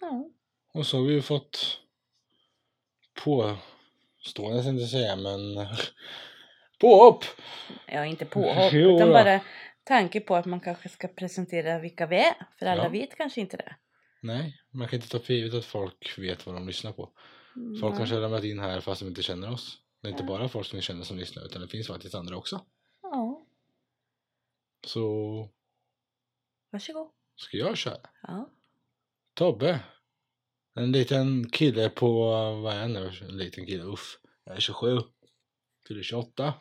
Ja. Och så har vi ju fått påstående, tänkte jag säga, men påhopp! Ja, inte påhopp, Jo utan då. bara tanke på att man kanske ska presentera vilka vi är. För alla Ja. vet kanske inte det. Nej, man kan inte ta för givet att folk vet vad de lyssnar på. Folk Ja. kanske har ramlat in här fast de inte känner oss. Det är inte Ja. bara folk som vi känner som lyssnar utan det finns faktiskt andra också. Ja, Så varsågod. ska jag köra. Ja. Tobbe. En liten kille på, vad är han nu? En liten kille, uff. Jag är 27. Fyller 28.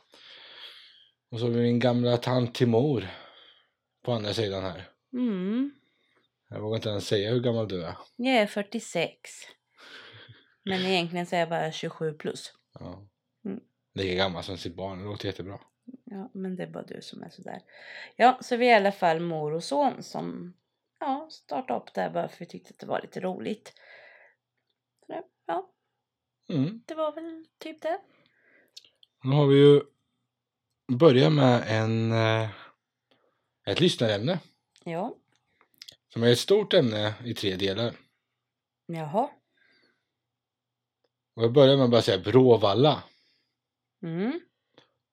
Och så har vi min gamla tant till mor. På andra sidan här. Mm. Jag vågar inte ens säga hur gammal du är. Jag är 46. Men egentligen så är jag bara 27 plus. Ja. Mm. Lika gammal som sitt barn, det låter jättebra. Ja, men det är bara du som är sådär. Ja, så vi är i alla fall mor och son som ja, startade upp det här bara för vi tyckte att det var lite roligt. Så det- Ja, Mm. det var väl typ det. Nu har vi ju börjat med en, eh, ett lyssnarämne. Ja, Som är ett stort ämne i tre delar. jaha. Och jag börjar med att bara säga Bråvalla. Mm.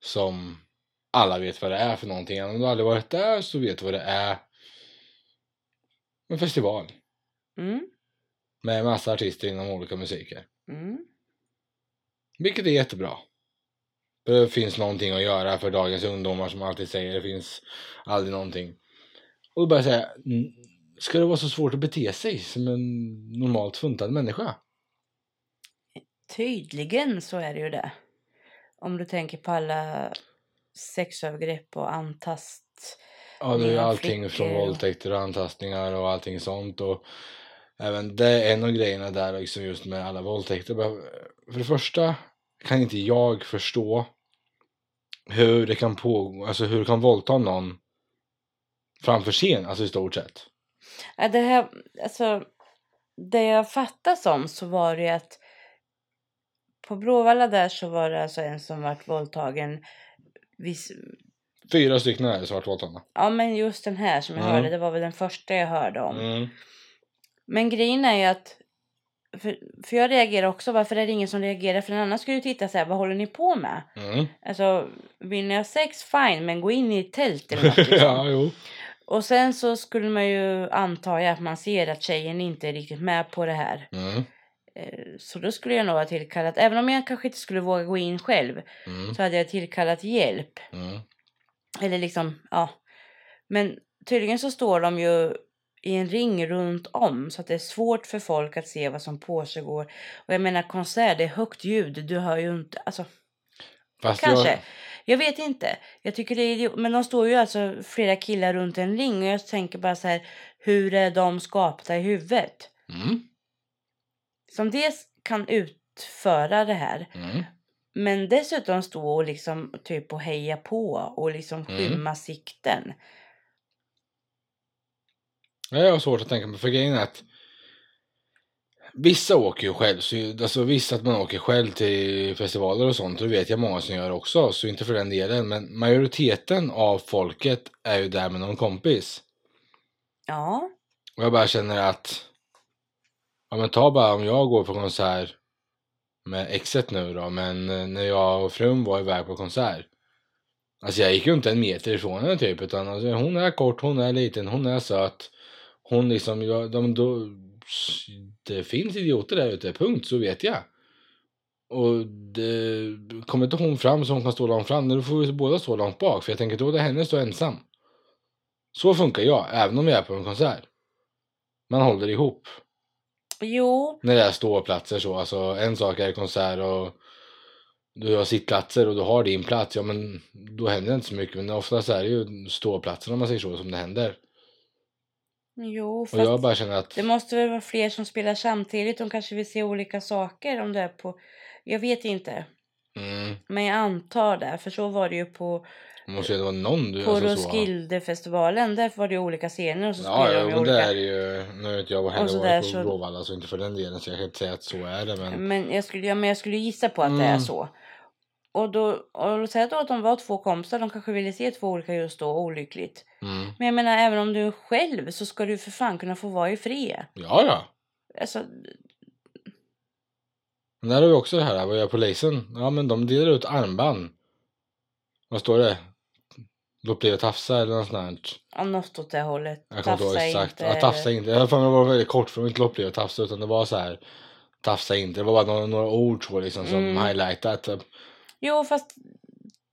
som alla vet vad det är för någonting. Om du aldrig varit där så vet du vad det är. En festival Mm. med massa artister inom olika musiker. Mm. Vilket är jättebra. För Det finns någonting att göra för dagens ungdomar som alltid säger det finns aldrig någonting. Och då bara säga, "Mm, ska det vara så svårt att bete sig som en normalt funtad människa? Tydligen så är det ju det. Om du tänker på alla sexövergrepp och antast. Ja, det är ju Ja, allting från flickor och- våldtäkter och antastningar och allting sånt. Och även det är en av grejerna där liksom just med alla våldtäkter. Bara- För det första kan inte jag förstå hur det kan pågå, alltså hur du kan våldta någon framför scen, alltså i stort sett. Ja, Äh, det här, alltså, det jag fattar som så var det ju att på Bråvalla där så var det alltså en som vart våldtagen. Vis, Fyra stycken är det svartvåltarna. ja men just den här som jag Mm. hörde, det var väl den första jag hörde om. Mm. Men grejen är ju att, för, för jag reagerar också, varför är det ingen som reagerar? För en annan skulle ju titta så här, vad håller ni på med? Mm. Alltså, vill ni ha sex, fine, men gå in i ett tält eller något liksom. ja, jo. Och sen så skulle man ju anta att man ser att tjejen inte är riktigt med på det här. Mm. Eh, Så då skulle jag nog ha tillkallat, även om jag kanske inte skulle våga gå in själv, Mm. så hade jag tillkallat hjälp. Mm. Eller liksom, ja. Men tydligen så står de ju i en ring runt om så att det är svårt för folk att se vad som pågår. Och jag menar konsert, det är högt ljud, du hör ju inte, alltså Fast kanske. Alltså, Jag, Jag... vet inte. Jag tycker det är idiot. Men de står ju alltså flera killar runt en ring och jag tänker bara så här, hur är de skapta i huvudet? mm. Som dels kan utföra det här, Mm. Men dessutom stå och liksom typ och heja på och liksom Mm. skymma sikten. Ja, Jag har svårt att tänka mig, för grejen är att vissa åker ju själv, så, alltså visst att man åker själv till festivaler och sånt, och det vet jag många som gör också, så inte för den delen, men majoriteten av folket är ju där med någon kompis. Ja. Och jag bara känner att, ja men ta bara om jag går på konsert med exet nu då, men eh, när jag och frun var iväg på konsert, alltså jag gick ju inte en meter ifrån henne typ, utan alltså, hon är kort, hon är liten, hon är söt, hon liksom, jag, de, då, det finns idioter där ute, punkt, så vet jag. Och det, kommer inte hon fram så hon kan stå långt fram, då får vi båda stå långt bak, för jag tänker då låta henne stå ensam. Så funkar jag, även om jag är på en konsert. Man håller ihop. Jo. När det är ståplatser så, alltså en sak är konsert och du har sittplatser och du har din plats, ja men då händer det inte så mycket. Men oftast är det ju ståplatser om man säger så som det händer. Jo. Fast Och jag bara känner att, det måste väl vara fler som spelar samtidigt. De kanske vill se olika saker om det är på... Jag vet inte. mm, Men jag antar det. För så var det ju på, det måste ju vara någon du... alltså, på så. Roskildefestivalen. Där var det ju olika scener och så Ja, spelade ja, de ju men det olika. är ju, nu har inte jag Och så heller där varit så- Mm. på Bråvalla så inte för den delen så jag kan inte säga att så är det men. Men jag skulle, ja, men jag skulle gissa på att det är Mm. så. Och då, och låt säga då att de var två kompisar, de kanske ville se två olika just då, olyckligt. Mm, Men jag menar, även om du är själv så ska du ju för fan kunna få vara i fred. ja, ja. Alltså, Men där har vi också det här, vad gör polisen? Ja men de delar ut armband. Vad står det? Låt bli att tafsa eller något sånt här. ja, något åt det hållet. Jag kommer inte ihåg exakt. Ja, tafsa inte. Jag har för mig det var väldigt kort för de inte låt bli att tafsa utan det var så här. Tafsa inte. Det var bara några, några ord så liksom som Mm. highlightat. Typ. Jo, fast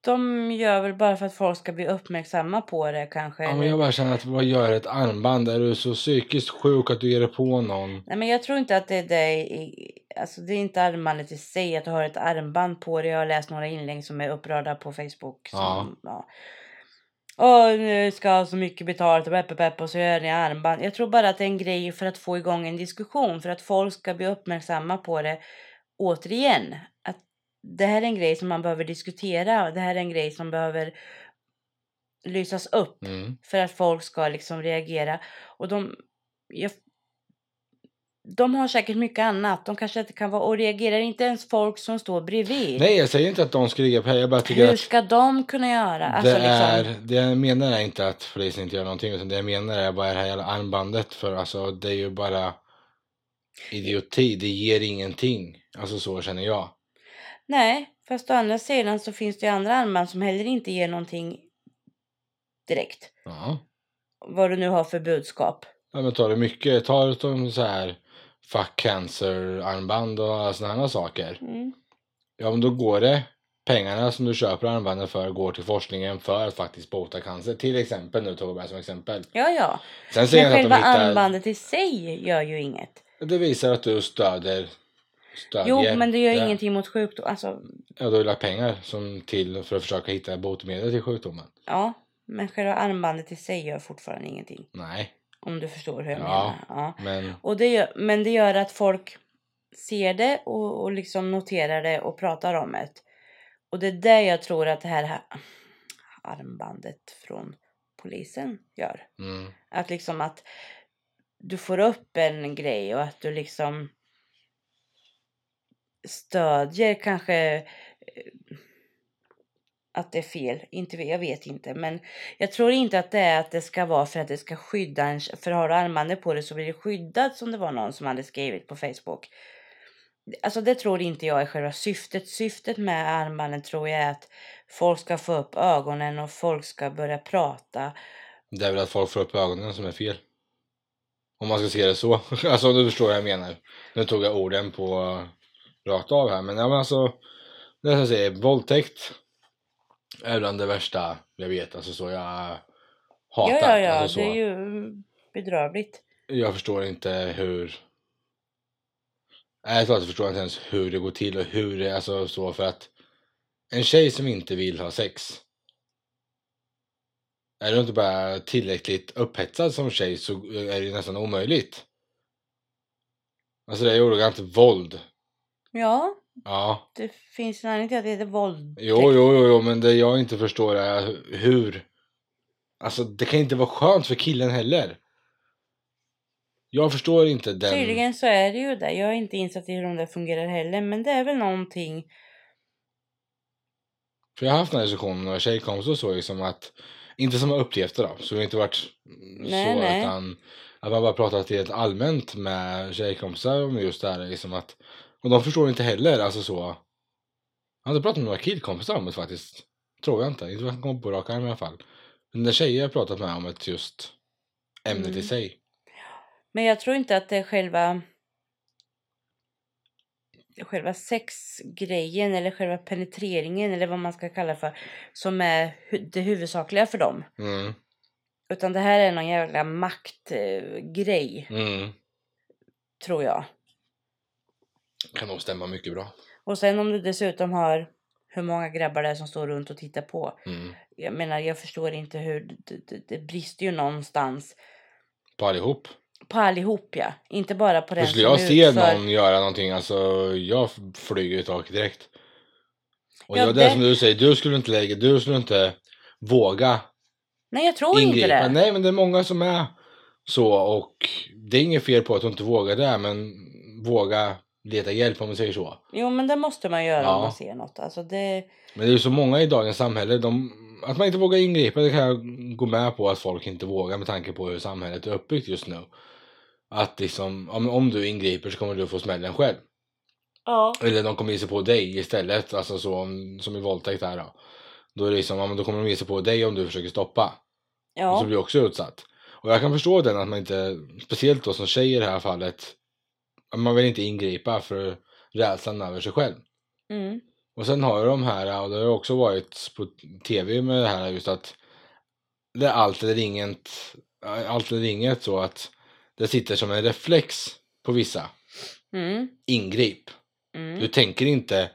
de gör väl bara för att folk ska bli uppmärksamma på det kanske. Ja men eller- jag bara känner att vad gör ett armband? Är du så psykiskt sjuk att du ger dig på någon? Nej, men jag tror inte att det är det. i- Alltså, det är inte armbandet i sig att du har ett armband på dig. Jag har läst några inlägg som är upprörda på Facebook. Som, ja. Åh, nu ska jag ha så mycket betalt och pepp, pepp, och så gör ni armband. Jag tror bara att det är en grej för att få igång en diskussion. För att folk ska bli uppmärksamma på det återigen. Att det här är en grej som man behöver diskutera. och Det här är en grej som behöver lysas upp Mm. för att folk ska liksom reagera. Och de, jag, de har säkert mycket annat. De kanske inte kan vara och reagerar inte ens folk som står bredvid. Nej jag säger inte att de ska ligga på Jag bara tycker Hur att ska de kunna göra? Alltså, det, är, liksom, det jag menar är inte att polisen inte gör någonting utan det jag menar är bara det här jävla armbandet för alltså det är ju bara idioti, det ger ingenting. Alltså så känner jag. nej, fast å andra sidan så finns det ju andra armband som heller inte ger någonting direkt. Ja. Vad du nu har för budskap. ja men tar det mycket, tar det som så här fuck cancer armband och alla såna här saker. Mm. Ja men då går det, pengarna som du köper armbanden för går till forskningen för att faktiskt bota cancer. Till exempel nu tog jag bara som exempel. Ja, ja. Sen säger Men jag inte själva att de hittar, armbandet i sig gör ju inget. det visar att du stöder, stödjer Jo, men det gör det. ingenting mot sjukdom. Alltså, Ja, du har ju lagt pengar som till för att försöka hitta botemedel till sjukdomen. ja. Men själva armbandet i sig gör fortfarande ingenting. Nej, Om du förstår hur jag Ja. menar. Ja. men Och det gör, men det gör att folk ser det och, och liksom noterar det och pratar om det. Och det är det jag tror att det här ha- armbandet från polisen gör. mm, Att liksom att du får upp en grej och att du liksom stödjer kanske eh, att det är fel. Inte, vet- jag vet inte, men jag tror inte att det är att det ska vara för att det ska skydda en. För har du armbandet på dig så blir det skyddat som det var någon som hade skrivit på Facebook. Alltså det tror inte jag är själva syftet. Syftet med armbanden tror jag är att folk ska få upp ögonen och folk ska börja prata. det är väl att folk får upp ögonen som är fel. Om man ska se det så. Alltså om du förstår vad jag menar. Nu tog jag orden på eh, rakt av här. Men, ja, men alltså, det är som jag säger, våldtäkt är bland det värsta jag vet. Alltså så jag hatar. Ja, ja, ja, alltså, så. det är ju bedrövligt. Jag förstår inte hur... Ärligt talat så förstår jag inte ens hur det går till och hur det... Alltså så för att... En tjej som inte vill ha sex. Är du inte bara tillräckligt upphetsad som tjej så är det ju nästan omöjligt. Alltså det är ju ordagrant våld. Ja, Ja. det finns en anledning till att det heter våld. Jo, jo, jo, jo, men det jag inte förstår är hur... Alltså det kan inte vara skönt för killen heller. Jag förstår inte den... Tydligen så är det ju det. Jag är inte insatt i hur de där fungerar heller, men det är väl någonting. För jag har haft den här diskussionen med några tjejkompisar och så liksom att inte som har upplevt det då, så det har inte varit Nej, så nej. utan att man bara pratat helt allmänt med tjejkompisar om just det här liksom att och de förstår inte heller alltså så. Jag har inte pratat med några killkompisar om det faktiskt. Tror jag inte, inte vad jag kom på rak arm i alla fall. Men när tjejer har pratat med om ett just ämnet i Mm. sig. Men jag tror inte att det är själva själva sexgrejen eller själva penetreringen eller vad man ska kalla för som är hu- det huvudsakliga för dem. Mm. Utan det här är någon jävla maktgrej, Mm. tror jag. Kan nog stämma mycket bra. Och sen om du dessutom har hur många grabbar det är som står runt och tittar på. Mm. Jag menar, jag förstår inte hur... Det, det, det brister ju någonstans. På allihop. På allihop, ja. Inte bara på den För skulle jag som se utför. någon göra någonting, alltså jag f- flyger i taket direkt. Och Ja, det var det det- som du säger, du skulle inte lägga, du skulle inte våga Nej, jag tror inte ingripa. det. Nej men det är många som är så och det är inget fel på att du inte vågar det men våga leta hjälp om man säger så. Jo, men det måste man göra Ja. om man ser något. Alltså det... Men det är ju så många i dagens samhälle, de, att man inte vågar ingripa det kan jag gå med på att folk inte vågar med tanke på hur samhället är uppbyggt just nu. Att liksom, om, om du ingriper så kommer du få smällen själv. Ja. Eller de kommer ge sig på dig istället, alltså så, om, som i våldtäkt här då. Då, är det liksom, ja, men då kommer de ge sig på dig om du försöker stoppa. Och Ja. så blir du också utsatt. Och jag kan förstå den att man inte, speciellt då som tjej i det här fallet, att man vill inte ingripa för rädslan över sig själv. Mm. Och sen har ju de här, och det har ju också varit på tv med det här just att det är allt eller inget, allt eller inget så att det sitter som en reflex på vissa. Mm. Ingrip. Du Mm. tänker inte,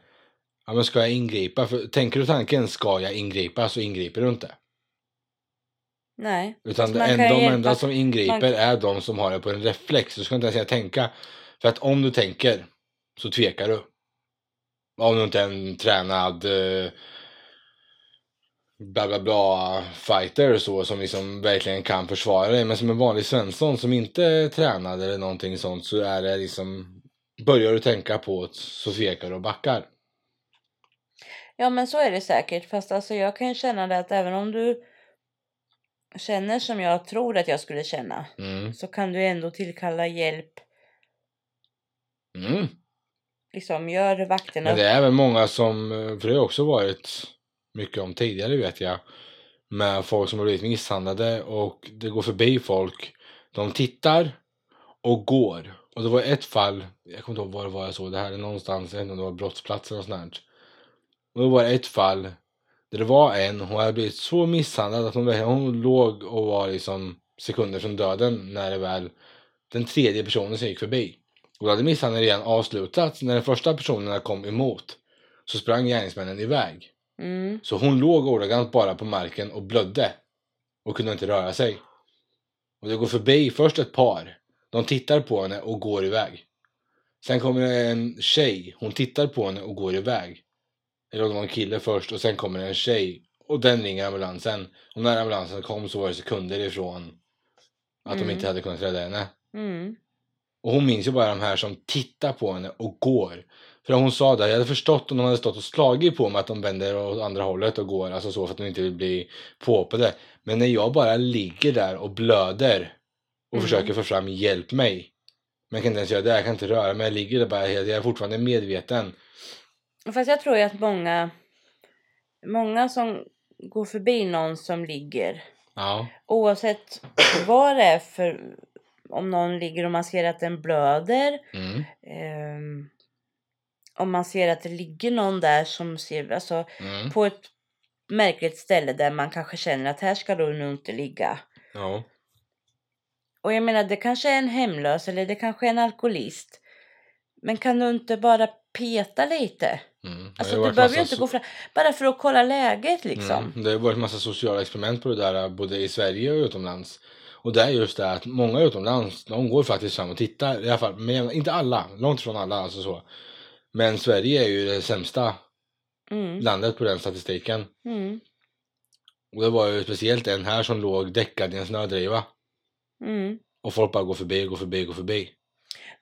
ja men ska jag ingripa? För tänker du tanken, ska jag ingripa? Så ingriper du inte. Nej. Utan det man en, de kan hjälpa- enda som ingriper man kan- är de som har det på en reflex. Du ska inte ens säga tänka. För att om du tänker så tvekar du. Om du inte är en tränad eh, bla bla bla fighter så som liksom verkligen kan försvara dig. Men som en vanlig svensson som inte är tränad eller någonting sånt så är det liksom börjar du tänka på det så tvekar du och backar. Ja men så är det säkert. Fast alltså jag kan ju känna det att även om du känner som jag tror att jag skulle känna. Mm. Så kan du ändå tillkalla hjälp. Mm. Liksom gör vakterna Men det är även många som, eh, för det har också varit mycket om tidigare vet jag, med folk som har blivit misshandlade och det går förbi folk. De tittar och går. Och det var ett fall, jag kommer inte ihåg var det var jag såg det här, någonstans, jag vet inte om det var brottsplatsen eller sånt här. Och då var det ett fall där det var en, hon hade blivit så misshandlad att hon, verkligen- hon låg och var liksom sekunder från döden när det väl den tredje personen som gick förbi. Och då hade misshandeln redan avslutats när den första personen kom emot. Så sprang gärningsmännen iväg. Mm. Så hon låg ordagrant bara på marken och blödde. Och kunde inte röra sig. Och det går förbi först ett par. De tittar på henne och går iväg. Sen kommer det en tjej. Hon tittar på henne och går iväg. Eller om det var en kille först och sen kommer det en tjej. Och den ringer ambulansen. Och när ambulansen kom så var det sekunder ifrån att de Mm. inte hade kunnat rädda henne. Mm. Och hon minns ju bara de här som tittar på henne och går. För hon sa det, jag hade förstått om de hade stått och slagit på mig att de vänder åt andra hållet och går, alltså så för att de inte vill bli påhoppade. Men när jag bara ligger där och blöder och Mm. försöker få fram hjälp mig. Men jag kan inte ens göra det, jag kan inte röra mig, jag ligger där bara helt, jag är fortfarande medveten. Fast jag tror ju att många, många som går förbi någon som ligger, Ja. oavsett vad det är för, om någon ligger och man ser att den blöder, Mm. ehm, om man ser att det ligger någon där som ser, alltså Mm. på ett märkligt ställe där man kanske känner att här ska du nog inte ligga. Ja. Och jag menar, det kanske är en hemlös eller det kanske är en alkoholist. Men kan du inte bara peta lite? Mm. Det har Alltså ju du varit behöver ju massa inte so- gå fram, bara för att kolla läget liksom. Mm. Det har varit massa sociala experiment på det där både i Sverige och utomlands. Och det är just det att många utomlands, de går faktiskt fram och tittar. I alla fall, men inte alla, långt ifrån alla alltså så. Men Sverige är ju det sämsta Mm. landet på den statistiken. Mm. Och det var ju speciellt en här som låg däckad i en snödriva. Mm. Och folk bara går förbi, går förbi, går förbi.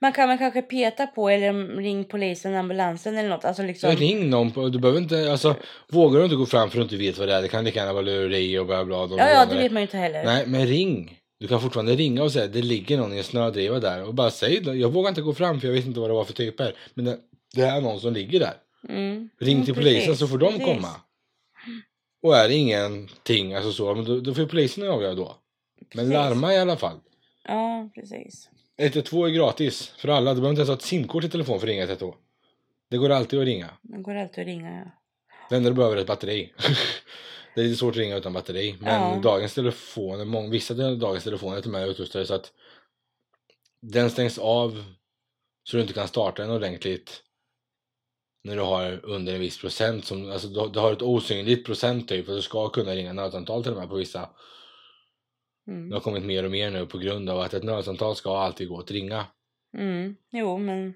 Man kan väl kanske peta på eller ring polisen, ambulansen eller något. Alltså Så liksom. ring någon, på, du behöver inte, alltså vågar du inte gå fram för du inte vet vad det är, det kan lika gärna vara lureri och bla bla. bla, Ja, bla, ja, bla. det vet man ju inte heller. Nej, men ring. Du kan fortfarande ringa och säga det ligger någon i en snödriva där och bara säg då, jag vågar inte gå fram för jag vet inte vad det var för typer. Men det, det är någon som ligger där. Mm. Ring Mm, precis, till polisen så får de precis. komma. Och är det ingenting, alltså så, men då, då får polisen avgöra då. Men Precis. larma i alla fall. Ja, precis. 112 är gratis för alla. Du behöver inte ens ha ett simkort i telefon för att ringa 112. Det går alltid att ringa. Det går alltid att ringa. Ja. Det enda du behöver är ett batteri. det är lite svårt att ringa utan batteri. Men Ja. dagens telefoner, många, vissa del- dagens telefoner är till och med utrustade så att den stängs av så du inte kan starta den ordentligt när du har under en viss procent. Som, alltså du, du har ett osynligt procent typ för du ska kunna ringa nödsamtal till och med på vissa. Mm. Det har kommit mer och mer nu på grund av att ett nödsamtal ska alltid gå att ringa. Mm. Jo, men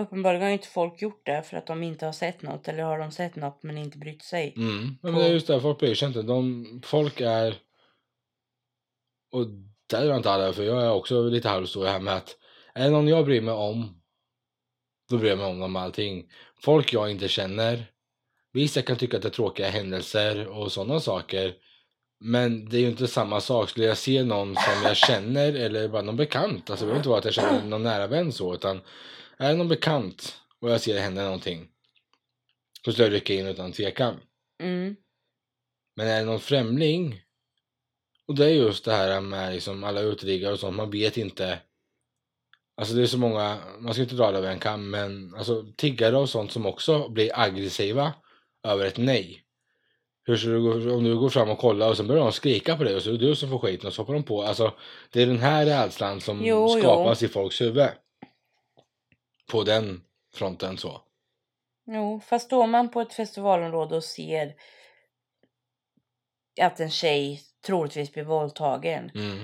uppenbarligen har ju inte folk gjort det för att de inte har sett något. Eller har de sett något men inte brytt sig. Mm. Ja, men det är just det, folk bryr sig inte. De, folk är... Och där är jag inte alla, för jag är också lite halvstor här med att är det någon jag bryr mig om, då bryr jag mig om dem allting. Folk jag inte känner, vissa kan tycka att det är tråkiga händelser och sådana saker, Men det är ju inte samma sak. Skulle jag se någon som jag känner eller bara någon bekant. Alltså det behöver inte vara att jag känner någon nära vän så. Utan är det någon bekant och jag ser hända någonting. Så skulle jag rycka in utan tvekan. Mm. Men är det någon främling. Och det är just det här med liksom alla uteliggare och sånt. Man vet inte. Alltså det är så många. Man ska inte dra alla över en kam. Men alltså tiggare och sånt som också blir aggressiva. Över ett nej. Hur ska du gå, om du går fram och kollar och sen börjar de skrika på dig och så är det du som får skiten och så hoppar de på. Alltså det är den här rädslan Jo, som jo. skapas i folks huvud. På den fronten så. Jo, fast står man på ett festivalområde och ser att en tjej troligtvis blir våldtagen. Mm.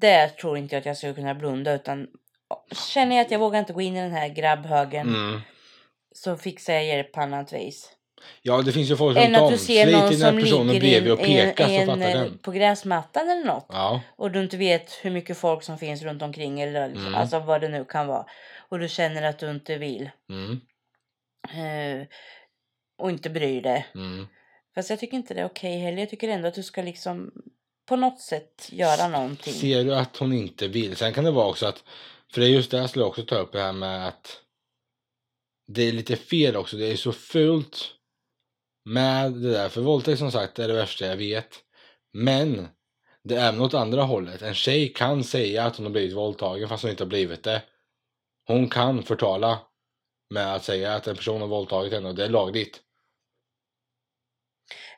Där tror inte jag att jag skulle kunna blunda utan känner jag att jag vågar inte gå in i den här grabbhögen Mm. så fixar jag hjälp på annat vis. Ja, det finns ju folk Än runt att om. du ser Slit någon till den som här personen ligger in, bredvid och i en, peka så i en, fattar eh, den. på gräsmattan eller något. Ja, och du inte vet hur mycket folk som finns runt omkring eller liksom, Mm. alltså vad det nu kan vara och du känner att du inte vill mm, eh, och inte bryr dig. mm. Fast jag tycker inte det är okej heller. Jag tycker ändå att du ska liksom på något sätt göra någonting. Ser du att hon inte vill? Sen kan det vara också att, för det är just det jag skulle också ta upp det här med att det är lite fel också. Det är så fult med det där. För våldtäkt som sagt är det värsta jag vet. Men det är även åt andra hållet. En tjej kan säga att hon har blivit våldtagen fast hon inte har blivit det. Hon kan förtala med att säga att en person har våldtagit henne och det är lagligt.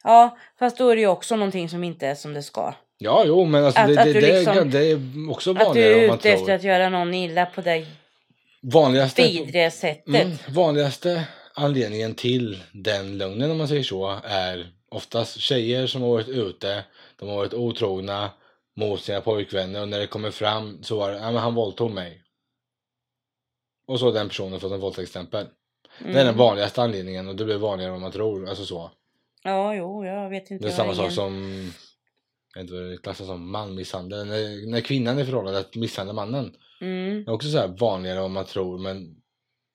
Ja, fast då är det ju också någonting som inte är som det ska. Ja, jo, men alltså, Att- det, att det, du det, är liksom- gan- det är också Att du vanligare om är man ute efter tror. att göra någon illa på det Vanligaste, vidriga sättet. mm, vanligaste anledningen till den lögnen, om man säger så, är oftast tjejer som har varit ute, de har varit otrogna mot sina pojkvänner och när det kommer fram så var det, ja men han våldtog mig. Och så har den personen fått en våldtäktsstämpel. Det är den Mm. vanligaste anledningen och det blir vanligare än vad man tror. Alltså så. Ja, jo, jag vet inte. Det är jag har samma sak ingen- som, jag vet inte vad det klassas som, manmisshandel. När, när kvinnan är i förhållandet misshandlar mannen. Mm. Det är också så här vanligare än vad man tror men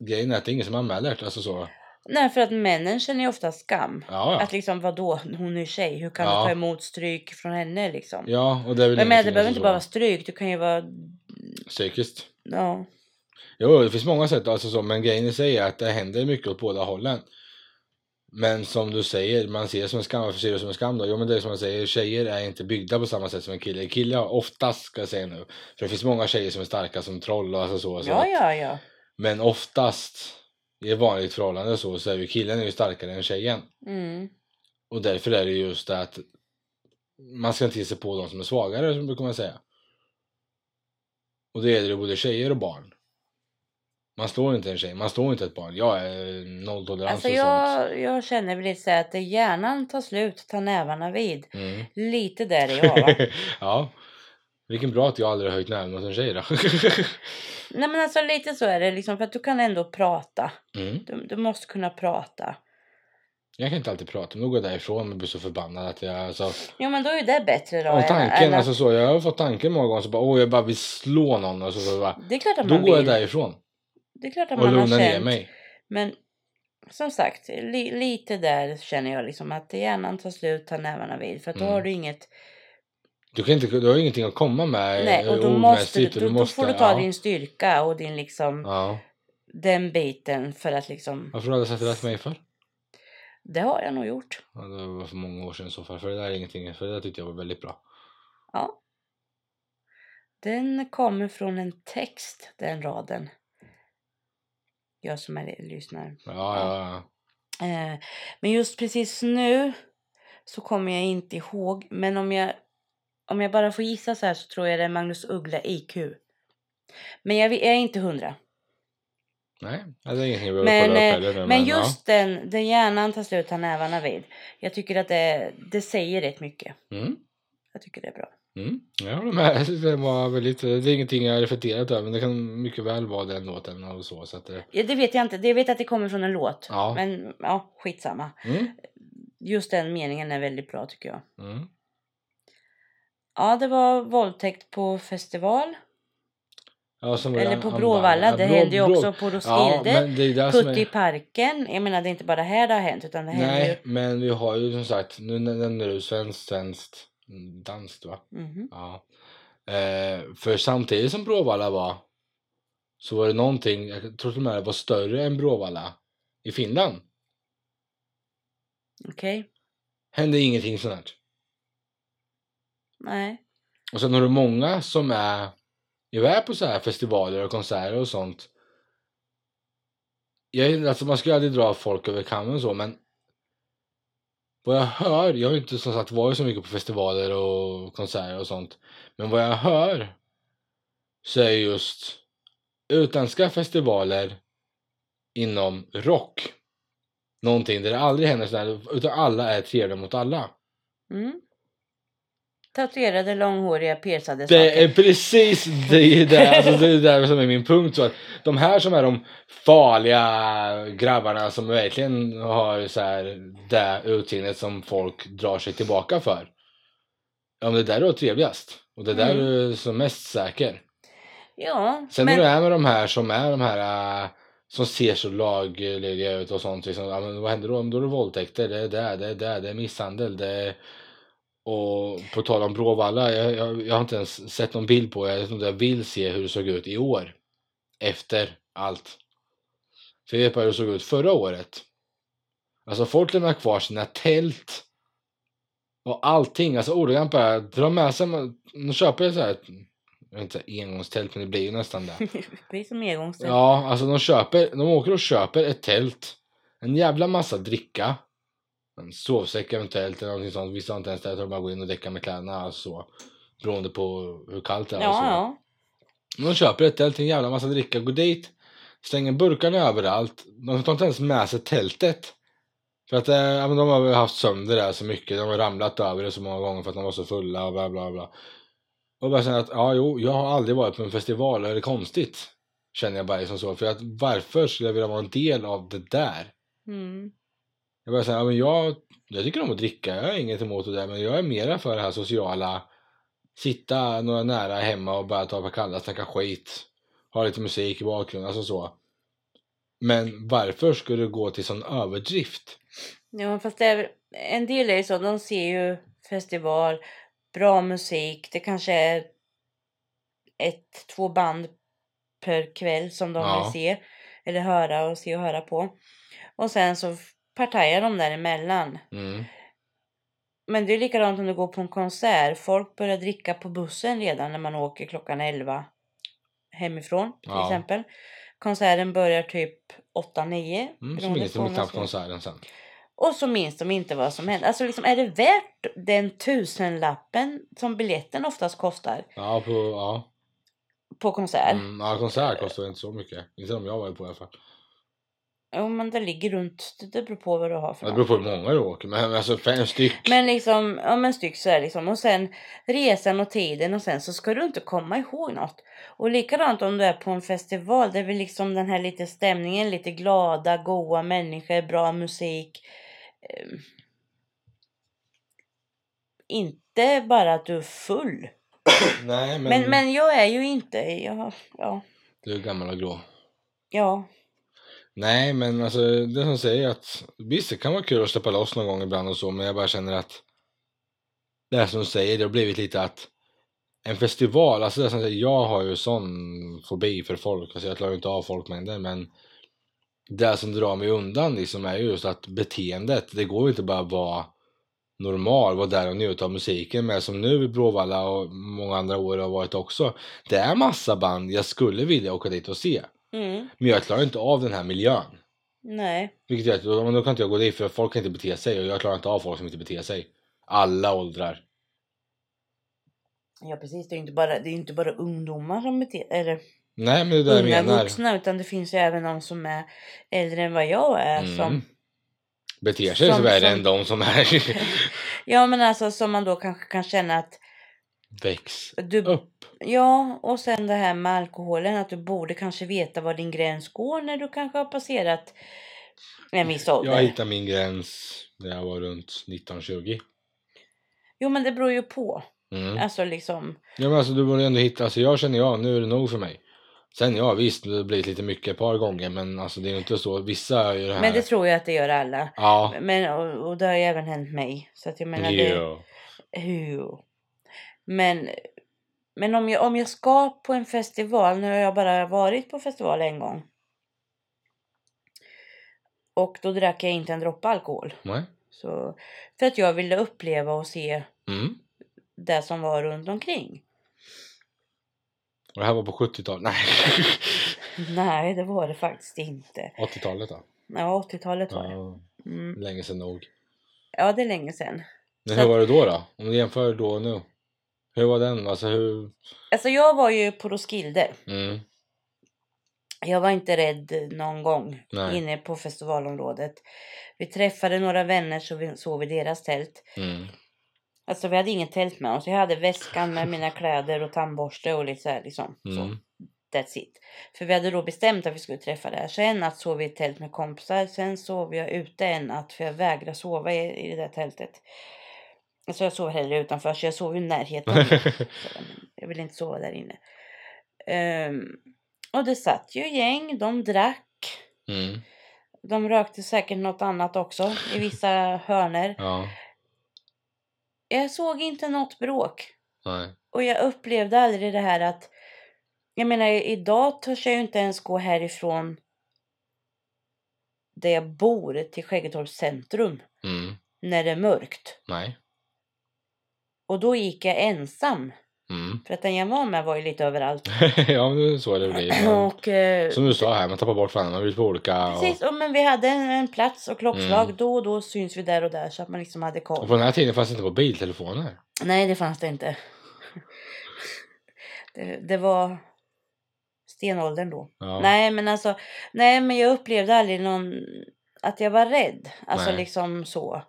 grejen är att det är ingen som anmäler det. Alltså så. Nej, för att männen känner ju ofta skam. Ja, Att ja. liksom vadå, hon är ju tjej, hur kan Ja. du ta emot stryk från henne liksom? ja och det är väl Men jag menar, det ingenting, behöver alltså inte bara vara så. stryk, du kan ju vara... Psykiskt. Ja. Jo, det finns många sätt alltså så, men grejen i sig är att det händer mycket åt båda hållen. Men som du säger, man ser det som en skam. Varför ser du det som en skam då? Jo men det är som man säger, tjejer är inte byggda på samma sätt som en kille. Killar har oftast, ska jag säga nu, för det finns många tjejer som är starka som troll och alltså så. så ja, att- ja, ja. Men oftast i ett vanligt förhållande så, så är ju killen är ju starkare än tjejen. Mm. Och därför är det just det att man ska inte ge sig på de som är svagare, som brukar man säga. Och det gäller ju både tjejer och barn. Man slår inte en tjej, man slår inte ett barn. Jag är nolltolerans Alltså och sånt. jag, jag känner väl lite så här att det är hjärnan tar slut, tar nävarna vid. Mm. Lite där är jag va? ja. Vilken bra att jag aldrig har höjt näven åt en tjej då. Nej men alltså lite så är det liksom för att du kan ändå prata. mm. Du, du måste kunna prata. Jag kan inte alltid prata, men då går jag därifrån och blir så förbannad att jag alltså, Jo men då är ju det bättre då. Om än- tanken, än att- alltså så, jag har fått tanken många gånger så bara åh jag bara vill slå någon och så, så bara, Det är klart att Då man går jag vill. därifrån Det är klart att och man har lugnar ner känt. mig. Men som sagt, li, lite där känner jag liksom att hjärnan tar slut, tar nävarna vid. För att då Mm. har du inget Du, kan inte, du har ingenting att komma med Nej, och eh, då, måste, du, ordmässigt, och då, då får du ta ja. din styrka och din liksom, Ja. den biten för att liksom, Varför har du sagt det där till mig för? det har jag nog gjort. Ja, det var för många år sedan i så fall, för det där är ingenting, för det där tyckte jag var väldigt bra. Den kommer från en text, den raden. Jag som är lyssnar. Ja, ja, ja. Eh, men just precis nu så kommer jag inte ihåg, men om jag, om jag bara får gissa så här så tror jag det är Magnus Uggla IQ. Men jag, vet- jag är inte hundra. Nej, ja, det är ingenting vi Men, behöver kolla upp eh, heller nu, Men just den, den hjärnan tar slut, tar nävarna vid. Jag tycker att det, det säger rätt mycket. ja. Mm. Jag tycker det är bra. Mm, jag håller med. Det, var väldigt, det är ingenting jag har reflekterat över, men det kan mycket väl vara den låten och så. så att eh, det, Ja, det vet jag inte. Det- Jag vet att det kommer från en låt. Ja. Men ja, skitsamma. mm, Just den meningen är väldigt bra tycker jag. mm. Ja, det var våldtäkt på festival. Ja, som var det Eller an- på an- Bråvalla, ja, det Brå- händer ju Brå- också på Ja, Roskilde. men det är det som Putte är... i parken. Jag menar det är inte bara här det har hänt utan det händer Nej, men vi har ju som sagt, nu nämnde du svenskt, svenskt, mm, danskt va? ju. Mhm. Ja. Eh, för samtidigt som Bråvalla var så var det någonting, jag tror till och med det var större än Bråvalla i Finland. Okej. Hände ingenting sånt här. Nej. Och sen har du många som är iväg på så här festivaler och konserter och sånt. Jag, alltså man ska ju aldrig dra folk över kammen och så men vad jag hör, jag har ju inte som sagt varit så mycket på festivaler och konserter och sånt. Men vad jag hör så är just utländska festivaler inom rock någonting där det aldrig händer sådär utan alla är trevliga mot alla. Mm. Tatuerade, långhåriga, piercade Det saker. är precis det, det, alltså det är där som är min punkt. Så att de här som är de farliga grabbarna som verkligen har så här, det utseendet som folk drar sig tillbaka för. Om det där du har trevligast och det där Mm. du är som mest säker. Ja, Sen men när du är med de här som är de här äh, som ser så laglydiga ut och sånt. Liksom, ja, men vad händer då? Då är det våldtäkter, det är det, det är det, det är misshandel. Det är... Och på tal om Bråvalla, jag, jag, jag har inte ens sett någon bild på det. Jag vet inte, jag vill se hur det såg ut i år. Efter allt. För jag vet bara hur det såg ut förra året. Alltså folk lämnar kvar sina tält. Och allting, alltså ordagrant bara dra med sig, nu köper jag så här, jag vet inte engångstält men det blir ju nästan det. det är som engångsställ. Ja, alltså de köper, de åker och köper ett tält, en jävla massa dricka, en sovsäck eventuellt eller någonting sånt. Vissa har inte ens det, utan de bara går in och däckar med kläderna alltså så. Beroende på hur kallt det är Ja, och så. ja. Men De köper ett tält, en jävla massa dricka, går dit, slänger burkarna överallt. De tar inte ens med sig tältet. För att eh, ja, men de har väl haft sönder det här så mycket, de har ramlat över det så många gånger för att de var så fulla och bla bla bla. Och bara känner att, ja jo, jag har aldrig varit på en festival, är det konstigt? Känner jag bara liksom så, för att varför skulle jag vilja vara en del av det där? Mm. Jag bara säga, ja, men jag, jag tycker om att dricka, jag har inget emot det där, men jag är mera för det här sociala. Sitta några nära hemma och bara ta ett par kalla, snacka skit. Ha lite musik i bakgrunden, alltså så. Men varför skulle du gå till sån överdrift? Ja, fast det är, en del är ju så, de ser ju festival, bra musik, det kanske är ett, två band per kväll som de Ja. vill se eller höra och se och höra på. Och sen så partajar de däremellan. Mm. Men det är likadant om du går på en konsert. Folk börjar dricka på bussen redan när man åker klockan 11 hemifrån till Ja. exempel. Konserten börjar typ 8-9. Mm, så beroende minns på de om knappt ska- konserten sen. och så minns de inte vad som hände. Alltså liksom, är det värt den tusenlappen som biljetten oftast kostar Ja, på, ja. på konsert? Mm, ja konsert kostar inte så mycket. Inte om jag var på i alla fall. Jo men det ligger runt, det- det beror på vad du har för Det beror något. på hur många du åker, men alltså fem styck. Men liksom, ja men styck så här liksom. Och sen resan och tiden och sen så ska du inte komma ihåg något. Och likadant om du är på en festival, det är väl liksom den här lite stämningen, lite glada, goa människor, bra musik. Ehm. Inte bara att du är full. Nej, men, Men, men jag är ju inte... Jag, ja, Du är gammal och grå. ja. Nej, men alltså det som säger att visst, det kan vara kul att släppa loss någon gång ibland och så, men jag bara känner att det här som du säger, det har blivit lite att en festival, alltså det som jag säger, jag har ju sån fobi för folk, alltså jag klarar ju inte av folkmängder, men det som drar mig undan liksom är ju just att beteendet, det går ju inte bara att vara normal, vara där och njuta av musiken, men som nu i Bråvalla och många andra år har varit också, det är massa band jag skulle vilja åka dit och se, Mm, men jag klarar inte av den här miljön. nej. Vilket gör att då, men då kan inte jag gå dit för folk kan inte bete sig och jag klarar inte av folk som inte beter sig. Alla åldrar. Ja precis, det är ju inte bara, det är ju inte bara ungdomar som beter eller Nej men det är det jag unga menar. vuxna utan det finns ju även de som är äldre än vad jag är. Mm. Som, Beter sig Som- så värre som- än de som är ja men alltså som man då kanske kan känna att väx du... upp. Ja och sen det här med alkoholen att du borde kanske veta var din gräns går när du kanske har passerat en viss ålder. Jag hittade min gräns när jag var runt 19-20. Jo men det beror ju på. Mm. Alltså liksom. Ja men alltså du borde ändå hitta, alltså jag känner jag, nu är det nog för mig. Sen ja, visst, det har blivit lite mycket ett par gånger, men alltså det är ju inte så. Vissa gör det här. Men det tror jag att det gör alla. Ja. Men, och, och det har ju även hänt mig. Så att jag menar, det, Jo. Jo. Men, men om, jag, om jag ska på en festival, nu har jag bara varit på festival en gång. Och då drack jag inte en droppe alkohol. Nej. Så, för att jag ville uppleva och se Mm. det som var runt omkring. Och det här var på 70-talet? Nej. Nej, det var det faktiskt inte. 80-talet då? Ja, 80-talet var det. Ja, Mm. länge sedan nog. Ja, det är länge sedan. Men Så hur att- var det då då? Om du jämför då och nu. Hur var den? Alltså hur? Alltså, jag var ju på Roskilde. Mm. Jag var inte rädd någon gång Nej. inne på festivalområdet. Vi träffade några vänner så vi sov i deras tält. Mm. Alltså vi hade inget tält med oss. Jag hade väskan med mina kläder och tandborste och lite så här liksom. Så, Mm. that's it. För vi hade då bestämt att vi skulle träffa där. Så en natt sov vi i ett tält med kompisar. Sen sov jag ute en natt för jag vägrar sova i, i det där tältet. Alltså jag sov hellre utanför så jag sov i närheten. Så, men Jag vill inte sova där inne. Ehm, och det satt ju gäng. De drack. mm. De rökte säkert något annat också i vissa hörner. Ja. Jag såg inte något bråk. Nej. Och jag upplevde aldrig det här att... Jag menar, idag törs jag ju inte ens gå härifrån där jag bor till Skäggetorps centrum Mm. när det är mörkt. Nej. Och då gick jag ensam. Mm. För att den jag var med var ju lite överallt. ja, men det är så det blir. Man, Och, eh, som du sa här, man tappar bort varandra, man blir på olika. Och, precis, och, men vi hade en, en plats och klockslag. Mm. Då och då syns vi där och där så att man liksom hade koll. och på den här tiden fanns det inte mobiltelefoner. Nej, det fanns det inte. Det, det var stenåldern då. Ja. Nej, men alltså, nej, men jag upplevde aldrig någon, att jag var rädd. Alltså Nej. liksom så.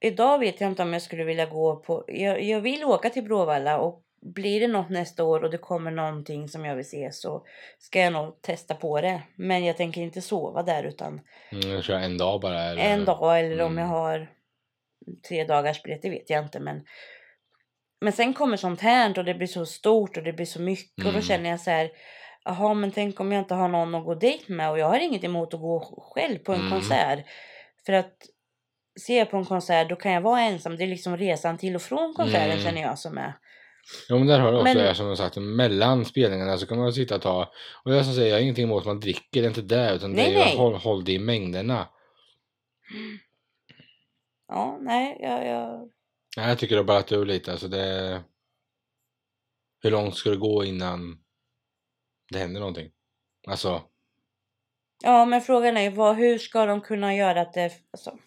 Idag vet jag inte om jag skulle vilja gå på, jag, jag vill åka till Bråvalla och blir det något nästa år och det kommer någonting som jag vill se så ska jag nog testa på det. Men jag tänker inte sova där utan Mm, jag kör en dag bara. Eller, en dag eller om Mm. jag har tre dagars biljett, det vet jag inte. Men, men sen kommer sånt här och det blir så stort och det blir så mycket och då Mm. känner jag så här. Jaha, men tänk om jag inte har någon att gå dit med och jag har inget emot att gå själv på en Mm. konsert. För att ser jag på en konsert då kan jag vara ensam. Det är liksom resan till och från konserten Mm. känner jag som är. Jo, men där har du också Men- det här som jag sagt, mellan spelningarna så kan man sitta och ta. Och jag som säger, jag har ingenting emot att man dricker, det är inte det. Utan Nej, det är nej. ju håll, håll det i mängderna. Ja, nej, jag, jag... Nej, jag tycker det har ballat ur lite. Alltså det... Hur långt ska det gå innan det händer någonting? Alltså, Ja, men frågan är ju vad, hur ska de kunna göra att det... Alltså,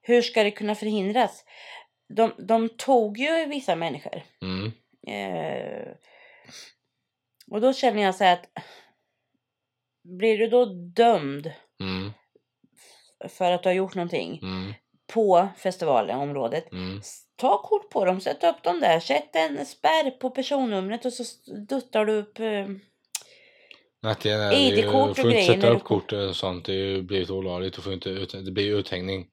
hur ska det kunna förhindras? De, de tog ju vissa människor. mm, Eh, och då känner jag så här att... Blir du då dömd mm, för att du har gjort någonting mm, på festivalområdet mm. S- Ta kort på dem, sätt upp dem där, sätt en spärr på personnumret och så s- duttar du upp... eh, Natten är ID-kort ju, och får inte grejer sätta när du upp kort och sånt, det är ju blivit olagligt och får inte ut, det blir ju uthängning.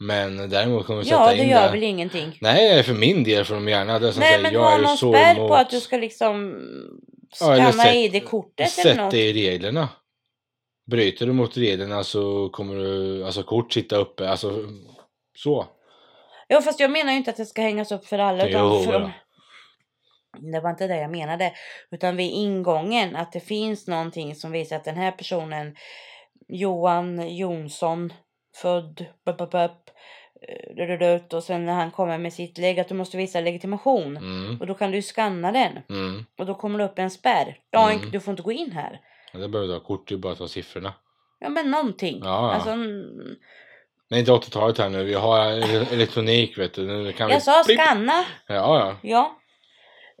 Men däremot kommer vi sätta Ja, det in gärna det. väl ingenting. Nej, för min del får de gärna det som Nej, Alltså, säger, men jag ha är ju någon så spärr emot. på att du ska liksom Ja, eller skanna sätt- ID-kortet eller Sätt något. dig i reglerna. Bryter du mot reglerna så kommer du, alltså kort sitta uppe, alltså så. Ja, fast jag menar ju inte att det ska hängas upp för alla. Utan Jo, för... då. Det var inte det jag menade. Utan vid ingången, att det finns någonting som visar att den här personen, Johan Jonsson, född, bup, bup, bup, eh, rududut, och sen när han kommer med sitt lägg, att du måste visa legitimation. Mm, Och då kan du ju skanna den. mm. Och då kommer det upp en spärr. Ja, Mm. du får inte gå in här. Ja, det behöver du ha kort, det är bara att ta siffrorna. Ja, men någonting. Ja, Alltså, alltså... mm, nej inte 80-talet här nu, vi har elektronik vet du. Nu kan vi... jag sa blipp. skanna. Ja, ja. Ja.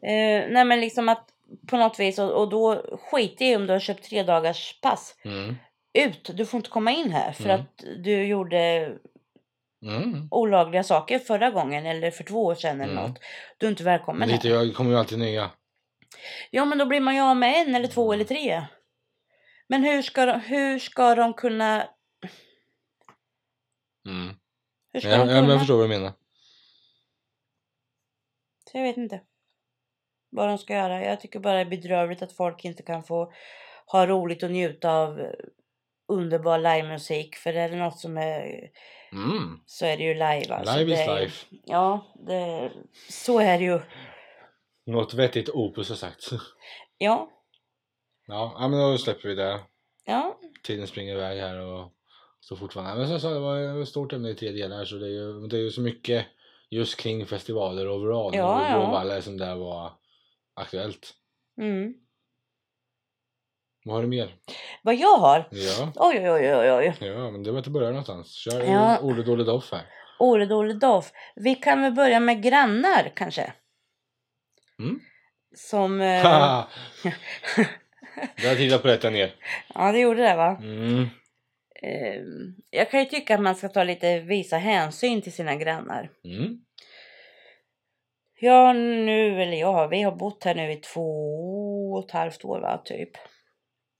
Eh, nej men liksom att på något vis och, och då skiter i om du har köpt tre dagars pass. Mm. Ut, du får inte komma in här för Mm. att du gjorde Mm. olagliga saker förra gången eller för två år sedan eller Mm. något. Du är inte välkommen Men här. lite, jag kommer ju alltid nya. Ja men då blir man ju av med en eller två Mm. eller tre. Men hur ska de, hur ska de kunna... Mm. Hur ska Ja, de ja, men kunna? jag Jag, förstår vad du menar. jag vet inte. vad de ska göra. Jag tycker bara det är bedrövligt att folk inte kan få ha roligt och njuta av eh, underbar livemusik. För är det något som är Mm. så är det ju live. Alltså. Live det is är, ju- life. Ja, det, så är det ju. Något vettigt opus har sagt. Ja, Ja, ja, men då släpper vi det. ja, Tiden springer iväg här och så fortfarande. Men sen så det var ett stort ämne i tre delar så det är ju, det är ju så mycket just kring festivaler overall. Ja, och ja. Bråvalla som där var aktuellt. mm. Vad har du mer? Vad jag har? Ja, Oj, oj, oj, oj, oj. ja men det var att börja någonstans. Kör Ja. ja. Olle Dolle Doff här. Ole Dole Doff. Vi kan väl börja med grannar kanske? Mm. Som... Eh, Haha! Där tittar på detta ner. ja, det gjorde det va? Mm. Eh, jag kan ju tycka att man ska ta lite, visa hänsyn till sina grannar. Mm. Jag har nu, eller jag har, vi har bott här nu i två och ett halvt år va, typ.